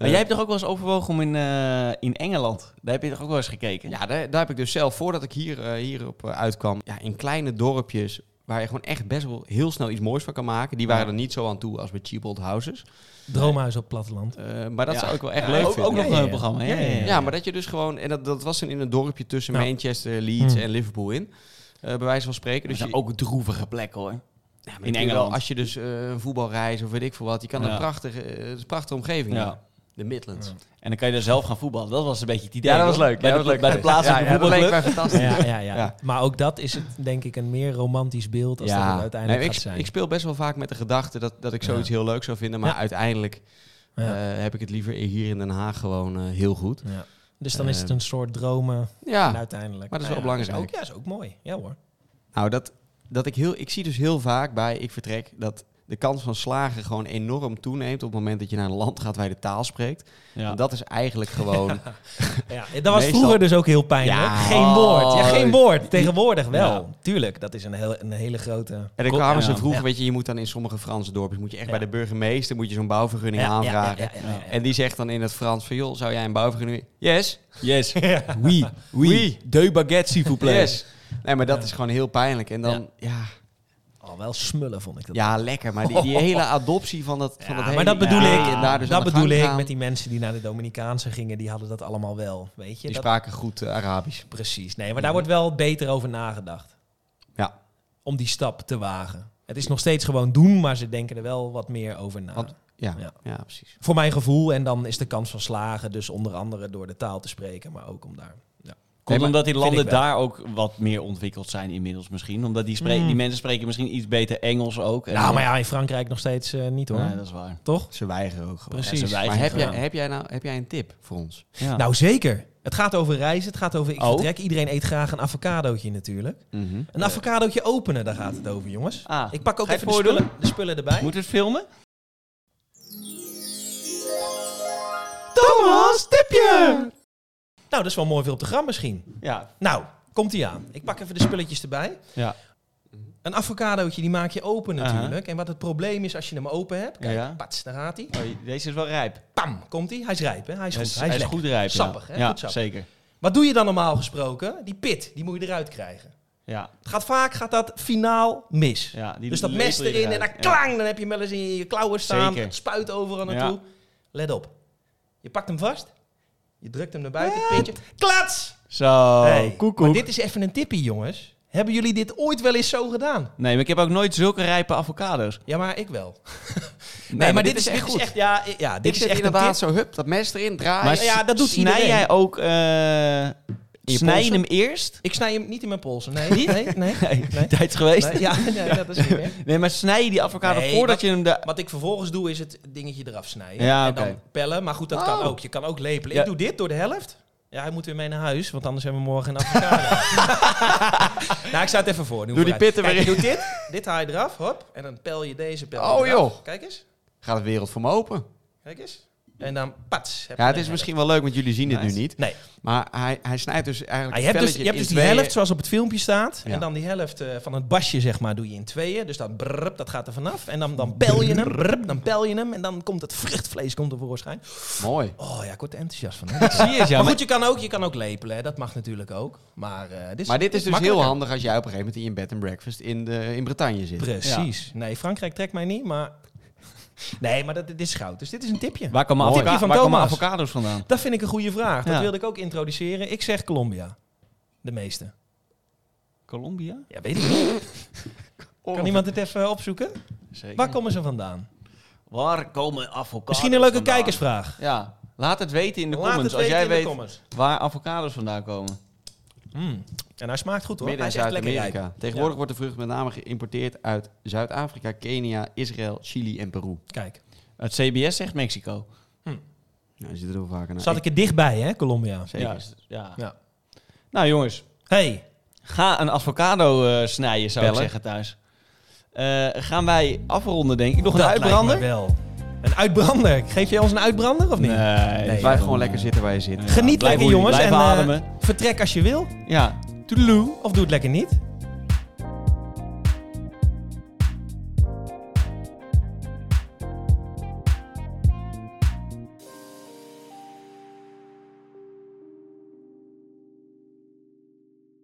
Speaker 3: Maar jij hebt toch ook wel eens overwogen om in, eh, in Engeland, daar heb je toch ook wel eens gekeken?
Speaker 2: Ja, daar, daar heb ik dus zelf, voordat ik hier, eh, hierop eh, uitkwam, ja, in kleine dorpjes waar je gewoon echt best wel heel snel iets moois van kan maken. Die waren
Speaker 3: Ja.
Speaker 2: er niet zo aan toe als bij Cheap Old Houses.
Speaker 1: Droomhuis op het platteland.
Speaker 2: Eh, maar dat
Speaker 3: Ja.
Speaker 2: zou ik wel echt
Speaker 3: Ja,
Speaker 2: leuk
Speaker 3: ook,
Speaker 2: vinden.
Speaker 3: ook nog
Speaker 1: Ja, ja,
Speaker 3: een
Speaker 1: ja.
Speaker 3: programma. Ja,
Speaker 1: Ja, ja,
Speaker 2: Ja, maar dat je dus gewoon... En dat, dat was dan in een dorpje tussen
Speaker 1: Ja.
Speaker 2: Manchester, Leeds
Speaker 1: Hmm.
Speaker 2: en Liverpool in. eh, bij wijze van spreken. Dus
Speaker 3: dat is
Speaker 2: je,
Speaker 3: ook een droevige plek hoor.
Speaker 2: Ja, maar
Speaker 3: in
Speaker 2: ik denk
Speaker 3: Engeland.
Speaker 2: wel, als je dus eh, een voetbalreis of weet ik veel wat... Je kan
Speaker 3: Ja.
Speaker 2: een prachtige, eh, het is een prachtige omgeving
Speaker 3: Ja.
Speaker 2: hebben. De Midlands.
Speaker 1: Ja.
Speaker 3: En dan kan je daar zelf gaan voetballen. Dat was een beetje het idee.
Speaker 2: Ja, dat
Speaker 3: toch?
Speaker 2: was leuk.
Speaker 3: Bij,
Speaker 2: Ja,
Speaker 3: de,
Speaker 2: dat was leuk.
Speaker 3: bij de plaatselijke
Speaker 2: Ja, ja, dat leek
Speaker 3: voetbalclub.
Speaker 2: mij fantastisch.
Speaker 1: Ja, ja, ja.
Speaker 2: Ja.
Speaker 1: Maar ook dat is het, denk ik, een meer romantisch beeld als dat het uiteindelijk
Speaker 2: Nee, ik,
Speaker 1: gaat zijn.
Speaker 2: ik speel best wel vaak met de gedachte dat, dat ik zoiets heel leuk zou vinden. Maar
Speaker 1: Ja.
Speaker 2: uiteindelijk eh,
Speaker 1: Ja.
Speaker 2: heb ik het liever hier in Den Haag gewoon eh, heel goed.
Speaker 1: Ja. Dus dan is het een soort dromen
Speaker 2: Ja,
Speaker 1: en uiteindelijk.
Speaker 2: maar dat is
Speaker 1: Nou
Speaker 2: wel
Speaker 1: ja,
Speaker 2: belangrijk.
Speaker 1: Is ook, ja, is ook mooi. Ja hoor.
Speaker 2: nou dat, dat ik heel... Ik zie dus heel vaak bij Ik Vertrek dat de kans van slagen gewoon enorm toeneemt... op het moment dat je naar een land gaat waar je de taal spreekt.
Speaker 3: Ja.
Speaker 2: En dat is eigenlijk gewoon...
Speaker 1: Ja, dat was
Speaker 2: Meestal-
Speaker 1: vroeger dus ook heel pijnlijk.
Speaker 2: Ja.
Speaker 1: Geen woord. Ja, geen
Speaker 3: Oh.
Speaker 1: woord. Tegenwoordig wel.
Speaker 3: Ja.
Speaker 1: Tuurlijk, dat is een, heel, een hele grote...
Speaker 2: En dan kwamen
Speaker 3: Ja.
Speaker 2: ze vroeger,
Speaker 1: Ja.
Speaker 2: weet je, je moet dan in sommige Franse dorpjes... moet je echt
Speaker 1: Ja.
Speaker 2: bij de burgemeester moet je zo'n bouwvergunning
Speaker 1: Ja, ja, ja,
Speaker 2: aanvragen.
Speaker 1: ja, ja, ja, ja.
Speaker 2: En die zegt dan in het Frans van... joh, zou jij een bouwvergunning... Yes,
Speaker 3: Yes. Oui. Oui.
Speaker 2: Oui.
Speaker 3: Deux baguettes, s'il vous plaît.
Speaker 2: yes. Nee, maar dat is gewoon heel pijnlijk. En dan, ja...
Speaker 1: Al Oh, wel smullen vond ik dat.
Speaker 2: Ja, lekker. Maar die, die hele adoptie van dat, van
Speaker 1: Ja,
Speaker 2: dat hele
Speaker 1: maar dat bedoel
Speaker 2: idee
Speaker 1: ik,
Speaker 2: en daar dus
Speaker 1: dat
Speaker 2: aan de
Speaker 1: bedoel
Speaker 2: gang
Speaker 1: ik
Speaker 2: gaan,
Speaker 1: met die mensen die naar de Dominicaanse gingen, die hadden dat allemaal wel, weet je?
Speaker 2: Die
Speaker 1: Dat-
Speaker 2: spraken goed eh, Arabisch.
Speaker 1: precies. Nee, maar daar
Speaker 3: Mhm.
Speaker 1: wordt wel beter over nagedacht
Speaker 2: Ja,
Speaker 1: om die stap te wagen. Het is nog steeds gewoon doen, maar ze denken er wel wat meer over na.
Speaker 2: Want- ja,
Speaker 1: Ja.
Speaker 2: ja. precies.
Speaker 1: Voor mijn gevoel en dan is de kans van slagen dus onder andere door de taal te spreken, maar ook om daar. Ja.
Speaker 3: Komt
Speaker 2: maar
Speaker 3: omdat die
Speaker 1: vind
Speaker 3: landen
Speaker 1: ik wel.
Speaker 3: daar ook wat meer ontwikkeld zijn inmiddels misschien. Omdat die,
Speaker 2: Hmm.
Speaker 3: spreken,
Speaker 1: Mm.
Speaker 3: die mensen spreken misschien iets beter Engels ook. En
Speaker 1: Nou, maar ja, in Frankrijk nog steeds eh, niet hoor.
Speaker 3: Nee, dat is waar.
Speaker 1: Toch?
Speaker 2: Ze weigeren ook gewoon.
Speaker 1: Precies.
Speaker 3: Ja, ze
Speaker 2: Maar
Speaker 3: weigeren
Speaker 2: heb jij,
Speaker 3: gewoon.
Speaker 2: heb, jij nou, heb jij een tip voor ons?
Speaker 3: Ja.
Speaker 1: Nou, zeker. Het gaat over reizen, het gaat over ik
Speaker 3: Oh.
Speaker 1: vertrek. Iedereen eet graag een avocadootje natuurlijk.
Speaker 2: Mhm.
Speaker 1: Een avocadootje openen, daar gaat het over, jongens.
Speaker 3: Ah,
Speaker 1: Ik pak ook
Speaker 3: Ga je
Speaker 1: even de
Speaker 3: het voordoen?
Speaker 1: spullen, de spullen erbij.
Speaker 3: moeten we het filmen?
Speaker 1: Thomas, tipje! Nou, dat is wel mooi veel op de gram misschien.
Speaker 3: Ja.
Speaker 1: Nou, komt ie aan. Ik pak even de spulletjes erbij.
Speaker 3: Ja.
Speaker 1: Een avocadootje, die maak je open
Speaker 3: Aha.
Speaker 1: natuurlijk. En wat het probleem is als je hem open hebt... Kijk,
Speaker 3: Ja.
Speaker 1: pats, daar gaat hij.
Speaker 3: Oh, deze is wel rijp.
Speaker 1: Pam, komt hij. Hij is rijp, hè? Hij is goed. hij is, lekker.
Speaker 3: goed rijp. ja.
Speaker 1: Sappig, hè?
Speaker 3: Ja,
Speaker 1: Goed sappig.
Speaker 3: zeker.
Speaker 1: Wat doe je dan normaal gesproken? Die pit, die moet je eruit krijgen.
Speaker 3: Ja.
Speaker 1: Het gaat vaak gaat dat finaal mis.
Speaker 3: Ja, die
Speaker 1: dus dat
Speaker 3: lepel
Speaker 1: mes
Speaker 3: je
Speaker 1: erin en dan
Speaker 3: eruit.
Speaker 1: klang, dan heb je hem wel eens in je klauwen staan.
Speaker 3: Zeker.
Speaker 1: Het spuit overal naartoe. Let op. Je pakt hem vast. Je drukt hem naar buiten. het Pintje. Klats!
Speaker 3: Zo,
Speaker 1: Hey,
Speaker 3: Oh, koekoek.
Speaker 1: Maar dit is even een tippie, jongens. Hebben jullie dit ooit wel eens zo gedaan?
Speaker 3: Nee, maar ik heb ook nooit zulke rijpe avocados.
Speaker 1: Ja, maar ik wel. Nee,
Speaker 2: maar dit is echt
Speaker 1: dit
Speaker 2: goed.
Speaker 1: echt, ja, i- ja, dit
Speaker 2: Dit
Speaker 1: is
Speaker 2: zit
Speaker 1: echt
Speaker 2: inderdaad
Speaker 1: inderdaad.
Speaker 2: zo, hup, dat mes erin, draaien.
Speaker 1: Maar- ja, dat doet
Speaker 3: snij
Speaker 1: iedereen.
Speaker 3: jij ook... eh
Speaker 2: je
Speaker 3: snij je
Speaker 2: polsen?
Speaker 3: hem eerst?
Speaker 1: Ik snij hem niet in mijn polsen. Nee, nee, nee. nee,
Speaker 3: Nee, tijd is geweest.
Speaker 1: Nee,
Speaker 3: Nee,
Speaker 1: ja, nee, dat is niet meer.
Speaker 3: maar snij je die avocado
Speaker 1: Nee,
Speaker 3: voordat
Speaker 1: wat-
Speaker 3: je hem... De...
Speaker 1: Wat ik vervolgens doe, is het dingetje eraf snijden.
Speaker 3: Ja,
Speaker 1: En
Speaker 3: oké.
Speaker 1: dan pellen. Maar goed, dat
Speaker 2: Oh.
Speaker 1: kan ook. Je kan ook lepelen.
Speaker 3: Ja.
Speaker 1: Ik doe dit door de helft. Ja, hij moet weer mee naar huis, want anders hebben we morgen een avocado. nou, ik zou het even voordoen.
Speaker 2: Doe die
Speaker 1: vooruit.
Speaker 2: pitten
Speaker 1: Kijk,
Speaker 2: weer
Speaker 1: je doet dit. Dit haal je eraf, hop. En dan pel je deze pel je
Speaker 2: Oh,
Speaker 1: eraf.
Speaker 2: joh.
Speaker 1: Kijk eens.
Speaker 2: Gaat de wereld voor me open.
Speaker 1: Kijk eens. En dan pats. heb je
Speaker 2: Ja,
Speaker 1: de
Speaker 2: het is
Speaker 1: helft.
Speaker 2: misschien wel leuk, want jullie zien dit nu
Speaker 3: Nice.
Speaker 2: niet.
Speaker 1: Nee,
Speaker 2: Maar hij, hij snijdt dus eigenlijk
Speaker 1: maar je
Speaker 2: het
Speaker 1: hebt dus, je
Speaker 2: velletje
Speaker 1: hebt dus
Speaker 2: in
Speaker 1: die
Speaker 2: tweeën.
Speaker 1: helft zoals op het filmpje staat.
Speaker 2: Ja.
Speaker 1: En dan die helft eh, van het basje, zeg maar, doe je in tweeën. Dus dan brrp, dat gaat er vanaf. En dan, dan pel je hem, brrp, dan pel je hem. En dan komt het vruchtvlees komt er voorschijn.
Speaker 2: Mooi.
Speaker 1: Oh ja, ik word er enthousiast van. hè.
Speaker 3: Zie je het, ja.
Speaker 1: maar goed, je kan ook, je kan ook lepelen, hè. dat mag natuurlijk ook. Maar, eh, dit is,
Speaker 2: Maar dit is dus heel
Speaker 1: makkelijker.
Speaker 2: handig als jij op een gegeven moment in je bed and breakfast in, de, in Bretagne zit.
Speaker 1: Precies. Nee, Frankrijk trekt mij niet, maar... Nee, maar dat, dit is goud. Dus dit is een tipje.
Speaker 3: Waar komen
Speaker 1: Mooi.
Speaker 3: avoca-
Speaker 1: Tipje van
Speaker 3: waar komen
Speaker 1: Thomas.
Speaker 3: avocados vandaan?
Speaker 1: Dat vind ik een goede vraag. Dat
Speaker 3: Ja.
Speaker 1: wilde ik ook introduceren. Ik zeg Colombia. De meeste.
Speaker 3: Colombia?
Speaker 1: Ja, weet ik niet. Kan iemand het even opzoeken?
Speaker 3: Zeker.
Speaker 1: Waar komen ze vandaan?
Speaker 3: Waar komen avocados
Speaker 1: Misschien een leuke
Speaker 3: vandaan?
Speaker 1: kijkersvraag.
Speaker 3: Ja, laat het weten in de
Speaker 1: Laat
Speaker 3: comments.
Speaker 1: het
Speaker 3: Als
Speaker 1: weten
Speaker 3: jij
Speaker 1: in de
Speaker 3: weet
Speaker 1: comments.
Speaker 3: waar avocados vandaan komen.
Speaker 1: Mm. En hij smaakt goed hoor.
Speaker 2: Midden-
Speaker 1: hij
Speaker 2: en
Speaker 1: is echt lekker
Speaker 2: Zuid-Amerika.
Speaker 1: rijp.
Speaker 2: Tegenwoordig wordt de vrucht met name geïmporteerd uit Zuid-Afrika, Kenia, Israël, Chili en Peru.
Speaker 1: Kijk,
Speaker 3: Het CBS zegt Mexico.
Speaker 2: Nou, die zitten er wel vaker naar.
Speaker 1: zat ik er dichtbij hè, Colombia.
Speaker 2: Zeker.
Speaker 3: Ja, s- ja.
Speaker 1: Ja.
Speaker 3: Nou jongens,
Speaker 1: Hey,
Speaker 3: Ga een avocado eh, snijden, zou
Speaker 2: Bellen.
Speaker 3: ik zeggen thuis. Eh, gaan wij afronden, denk ik. Nog een
Speaker 1: dat lijkt
Speaker 3: uitbrander?
Speaker 1: me wel. Een uitbrander. Geef jij ons een uitbrander of niet?
Speaker 3: Nee.
Speaker 2: Blijf gewoon lekker zitten waar je zit.
Speaker 1: Geniet
Speaker 3: blijf
Speaker 1: lekker
Speaker 3: hoe je-
Speaker 1: jongens
Speaker 3: blijf
Speaker 1: en eh,
Speaker 3: ademen.
Speaker 1: vertrek als je wil.
Speaker 3: Ja. Toedeloe.
Speaker 1: Of doe het lekker niet.